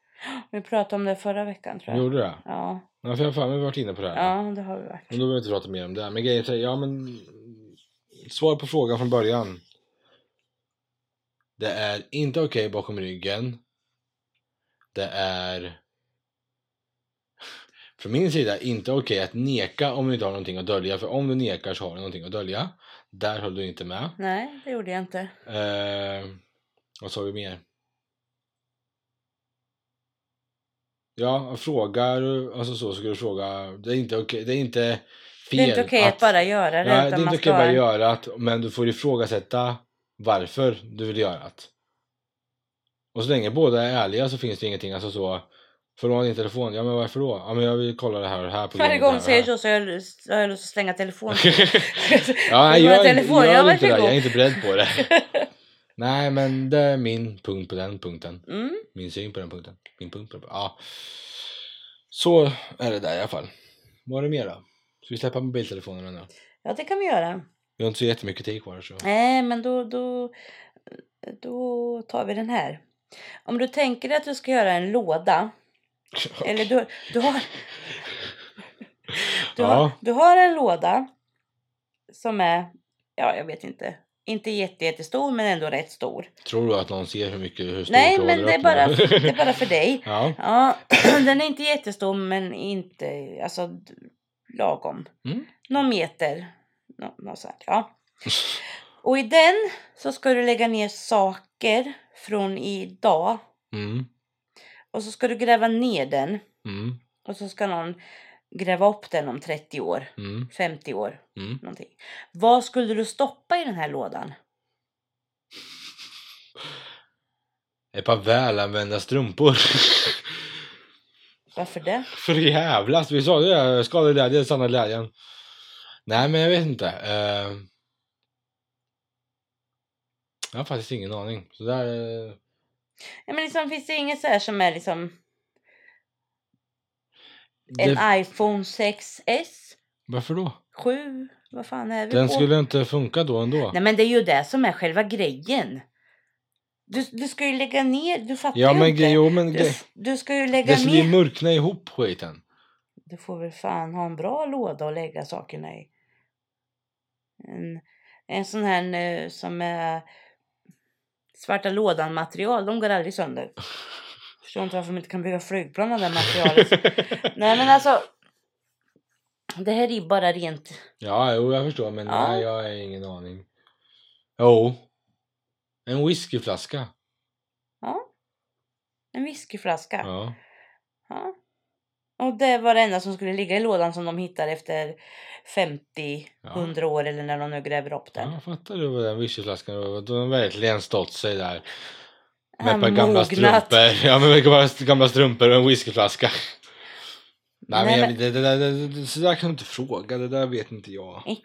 Vi pratade om det förra veckan tror jag. Gjorde det? Ja, Ja, för jag har för mig varit inne på det här. ja, det har vi varit. Men då behöver vi inte prata mer om det. Men grejen är, ja men... Svar på frågan från början. Det är inte okej bakom ryggen. Det är... Från min sida inte okej att neka om du inte har någonting att dölja. För om du nekar så har du någonting att dölja. Där höll du inte med. Nej, det gjorde jag inte. Eh, vad sa vi mer? Ja, frågar alltså så ska du fråga. Det är inte okej, det är inte fel. Det är inte okej att, bara göra det. Nej, det är utan inte man okej ska att bara bara göra det, men du får ifrågasätta varför du vill göra det. Och så länge båda är ärliga så finns det ingenting, alltså så. Får du ha din telefon? Ja, men varför då? Ja, men jag vill kolla det här och det här på Varje grund av gång du det säger här och det så så har jag lust- har jag lust att slänga telefonen. här. ja, nej, Får jag, jag ha telefon? Ja, är inte- jag, är inte det. varsågod. jag är inte beredd på det. Nej, men det är min punkt på den punkten. mm. Min syn på den punkten. Min punkt på den Ja. Så är det där i alla fall. Vad är det mer då? Ska vi släppa mobiltelefonerna nu? Ja, det kan vi göra. Vi har inte så jättemycket tid kvar. Så. Nej, men då, då, då tar vi den här. Om du tänker dig att du ska göra en låda. Eller du, du, har, du, har, Ja. du har en låda som är, ja jag vet inte, inte jätte, jättestor men ändå rätt stor. Tror du att någon ser hur mycket hur stor Nej tråd men du det är, öppnar? bara, det är bara för dig. ja. Ja, den är inte jättestor men inte, alltså d- lagom. Mm. Någon meter, nå- något sånt, ja. Och i den så ska du lägga ner saker från idag. Mm. Och så ska du gräva ner den. Mm. Och så ska någon gräva upp den om 30 år, Mm. 50 år, Mm. någonting. Vad skulle du stoppa i den här lådan? Ett par välanvända strumpor. Varför det? För jävlas, vi sa det, där, skada glädjen, sanna glädjen. Nej men jag vet inte. eh. Jag har faktiskt ingen aning. Så där, eh, Ja, men liksom, finns det inget så här som är liksom en det, iPhone 6S? varför då? 7? Vad fan är vi Den på? skulle inte funka då ändå. Nej men det är ju det som är själva grejen. Du, du ska ju lägga ner, du fattar ja ju men inte. grej, jo men du, grej. du ska ju lägga Det skulle ju ner. mörkna ihop skiten. Du får väl fan ha en bra låda att lägga sakerna i. En, en sån här eh, som är svarta lådan material, de går aldrig sönder. Förstår inte varför de inte kan bygga flygplan av det materialet. Nej men alltså. Det här är ju bara rent. ja, jo, jag förstår, men Ja. nej, jag har ingen aning. Jo. En whiskyflaska. Ja. En whiskyflaska. Ja. Ja. Och det var det enda som skulle ligga i lådan som de hittade efter 50, Ja. 100 år eller när de nu gräver upp den. ja. Fattar du vad den whiskyflaskan var? De har verkligen stått sig där. Han Med ett par gamla mognat. strumpor. Ja, men med gamla- gamla strumpor och en whiskyflaska. Nej, Nej, men, men- jag, det, det, där- det, det, så där kan du inte fråga. Det där vet inte jag.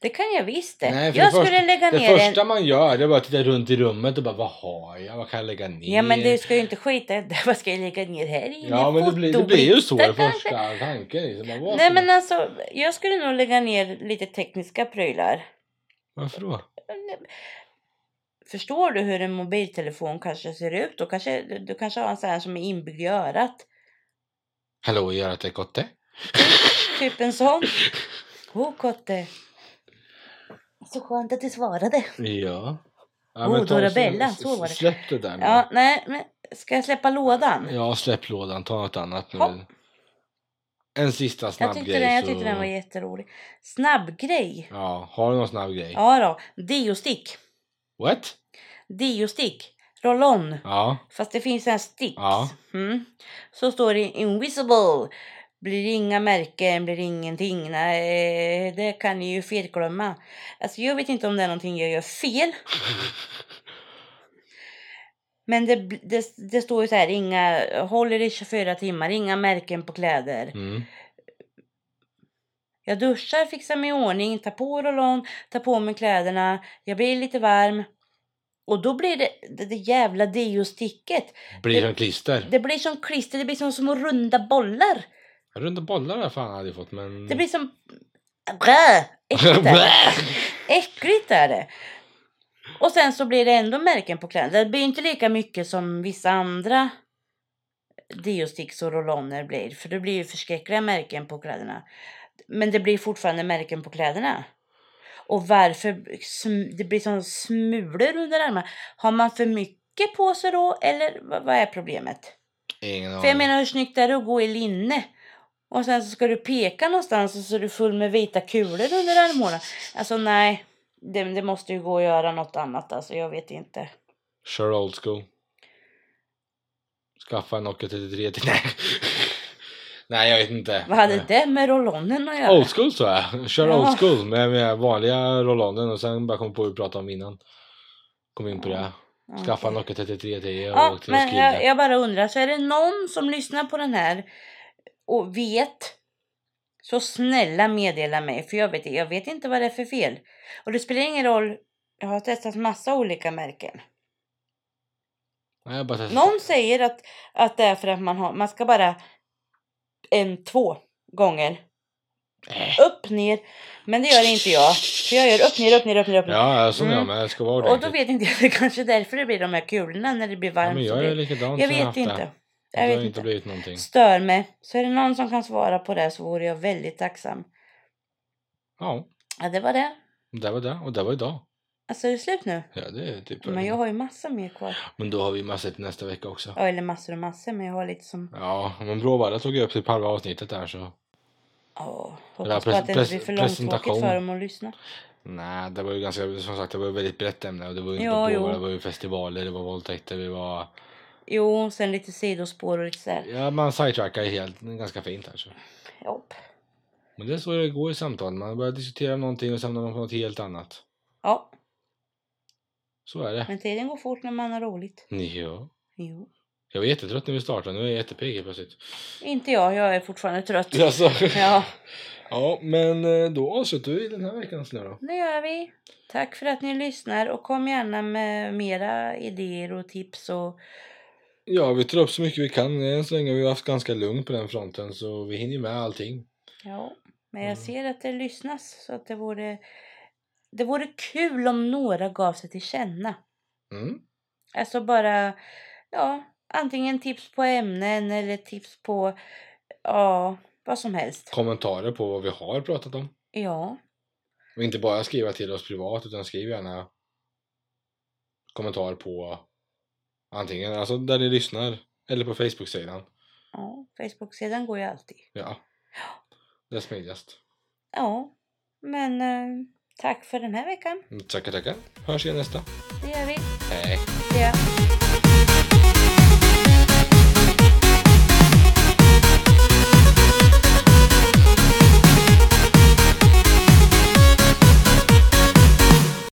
Det kan jag visst det. Nej, för jag det första- skulle lägga Det ner första en... man gör det är bara att titta runt i rummet och bara vad har jag? Vad kan jag lägga ner? Ja men du ska ju inte skita i det. Vad ska jag lägga ner här inne? Ja, men det blir, det blir ju så Fotoblixtar det kanske? första tanken. Liksom. Bara, vad Nej för- men alltså, jag skulle nog lägga ner lite tekniska prylar. Varför då? Förstår du hur en mobiltelefon kanske ser ut? Då kanske, du- du kanske har en sån här som är inbyggd i örat. Hallå, gör att det är kotte? Typ en sån. Oh kotte. Så skönt att du svarade. Ja. ja Oh, ta och Dorabella, s- så var det. Släpp det där nu. Ja, nej men ska jag släppa lådan? Ja, släpp lådan. Ta något annat nu. Hopp. En sista snabb Jag tyckte, grej. den, jag så- tyckte den var jätterolig. Snabbgrej. Ja, har du någon snabb grej? Ja då. Diostick. What? Diostick. Roll-on. Ja. Fast det finns en sticks. Ja. Mm. Så står det invisible. Blir inga märken, blir ingenting. Nej, det kan ni ju felglömma. Alltså jag vet inte om det är någonting jag gör fel. Men det, bl- det, det står ju så här, inga, håller i 24 timmar, inga märken på kläder. Mm. Jag duschar, fixar mig i ordning, tar på roll-on, tar på mig kläderna, jag blir lite varm. Och då blir det det, det jävla diosticket. Blir Det- som klister. Det blir som klister, det blir som små runda bollar. Runda bollar har jag fan aldrig fått men... Det blir som... Brä! Äckligt är det. Äckligt är det. Och sen så blir det ändå märken på kläderna. Det blir inte lika mycket som vissa andra diosticks och rolloner blir. För det blir ju förskräckliga märken på kläderna. Men det blir fortfarande märken på kläderna. Och varför sm- det blir som smulor under armarna. Har man för mycket på sig då? Eller vad, vad är problemet? Ingen För jag aning. menar hur snyggt är det att gå i linne? Och sen så ska du peka någonstans och så är du full med vita kulor under armhålan. Alltså nej, det, det måste ju gå att göra något annat alltså, jag vet inte. Kör old school. Skaffa en Nokia 33 till... Nej. Nej, jag vet inte. Vad hade Eh, det med rollonen att göra? Old school sa jag. Kör Ja. old school med, med vanliga rollanden och sen bara kom på vad vi pratade om innan. Kom in på Ja. det. Ja. Skaffa en Nokia 33 10 och Ja, åk till men Roskilde. jag, jag bara undrar, så är det någon som lyssnar på den här och vet så snälla meddela mig för jag vet, jag vet inte vad det är för fel. Och det spelar ingen roll, jag har testat massa olika märken. Nej, jag bara testar. Någon säger att, att det är för att man, har, man ska bara en, två gånger. Äh. Upp, ner. Men det gör inte jag. För jag gör upp, ner, upp, ner, upp, ner, upp, ner. Ja, jag som Mm. jag med. Det ska vara Och då ordentligt. vet inte jag, det är kanske därför det blir de här kulorna när det blir Ja, varmt. men så jag blir- är likadant jag som vet haft inte. Det. Jag det vet har inte inte. blivit någonting. Stör mig. Så är det någon som kan svara på det så vore jag väldigt tacksam. Ja, Ja, det var det. det var det. Och det var idag. Alltså är det slut nu? Ja, det är typ Men jag har ju massor mer kvar. men då har vi massor till nästa vecka också. Ja, eller massor och massor, men jag har lite som... Ja, men Bråvalla tog jag upp typ halva avsnittet där så. Ja, Det här hoppas bara att det inte pres- blir för pres- långtråkigt presentation. för dem att lyssna. Nej, det var ju ganska, som sagt, det var ju väldigt brett ämne och det var ju inte Ja, bara jo. Bråvalla, det var ju festivaler, det var våldtäkter, det var... Jo, sen lite sidospår och lite sådär. Ja, man sidetrackar helt, ganska fint här så. Jopp. Men det är så det går i samtal, man börjar diskutera någonting och sen hamnar man på något helt annat. Ja, Så är det. men tiden går fort när man har roligt. Ja. Jo. Jag var jättetrött när vi startade, nu är jag jättepigg helt plötsligt. Inte jag, jag är fortfarande trött. Alltså. Ja, ja, men eh, då avslutar vi den här veckans nu då. det gör vi. Tack för att ni lyssnar och kom gärna med mera idéer och tips och Ja, vi tar upp så mycket vi kan. Än så länge har vi haft ganska lugnt på den fronten så vi hinner med allting. ja. Men jag Mm. ser att det lyssnas så att det vore det vore kul om några gav sig till känna. Mm. Alltså bara, ja, antingen tips på ämnen eller tips på, ja, vad som helst. Kommentarer på vad vi har pratat om. Ja, Och inte bara skriva till oss privat utan skriv gärna kommentar på Antingen alltså där ni lyssnar eller på Facebook-sidan. Ja, Facebook-sidan går ju alltid. Ja. Det är smidigast. Ja, men eh, tack för den här veckan. Tackar, tackar. Hörs igen nästa. Det gör vi. Hej. Det gör.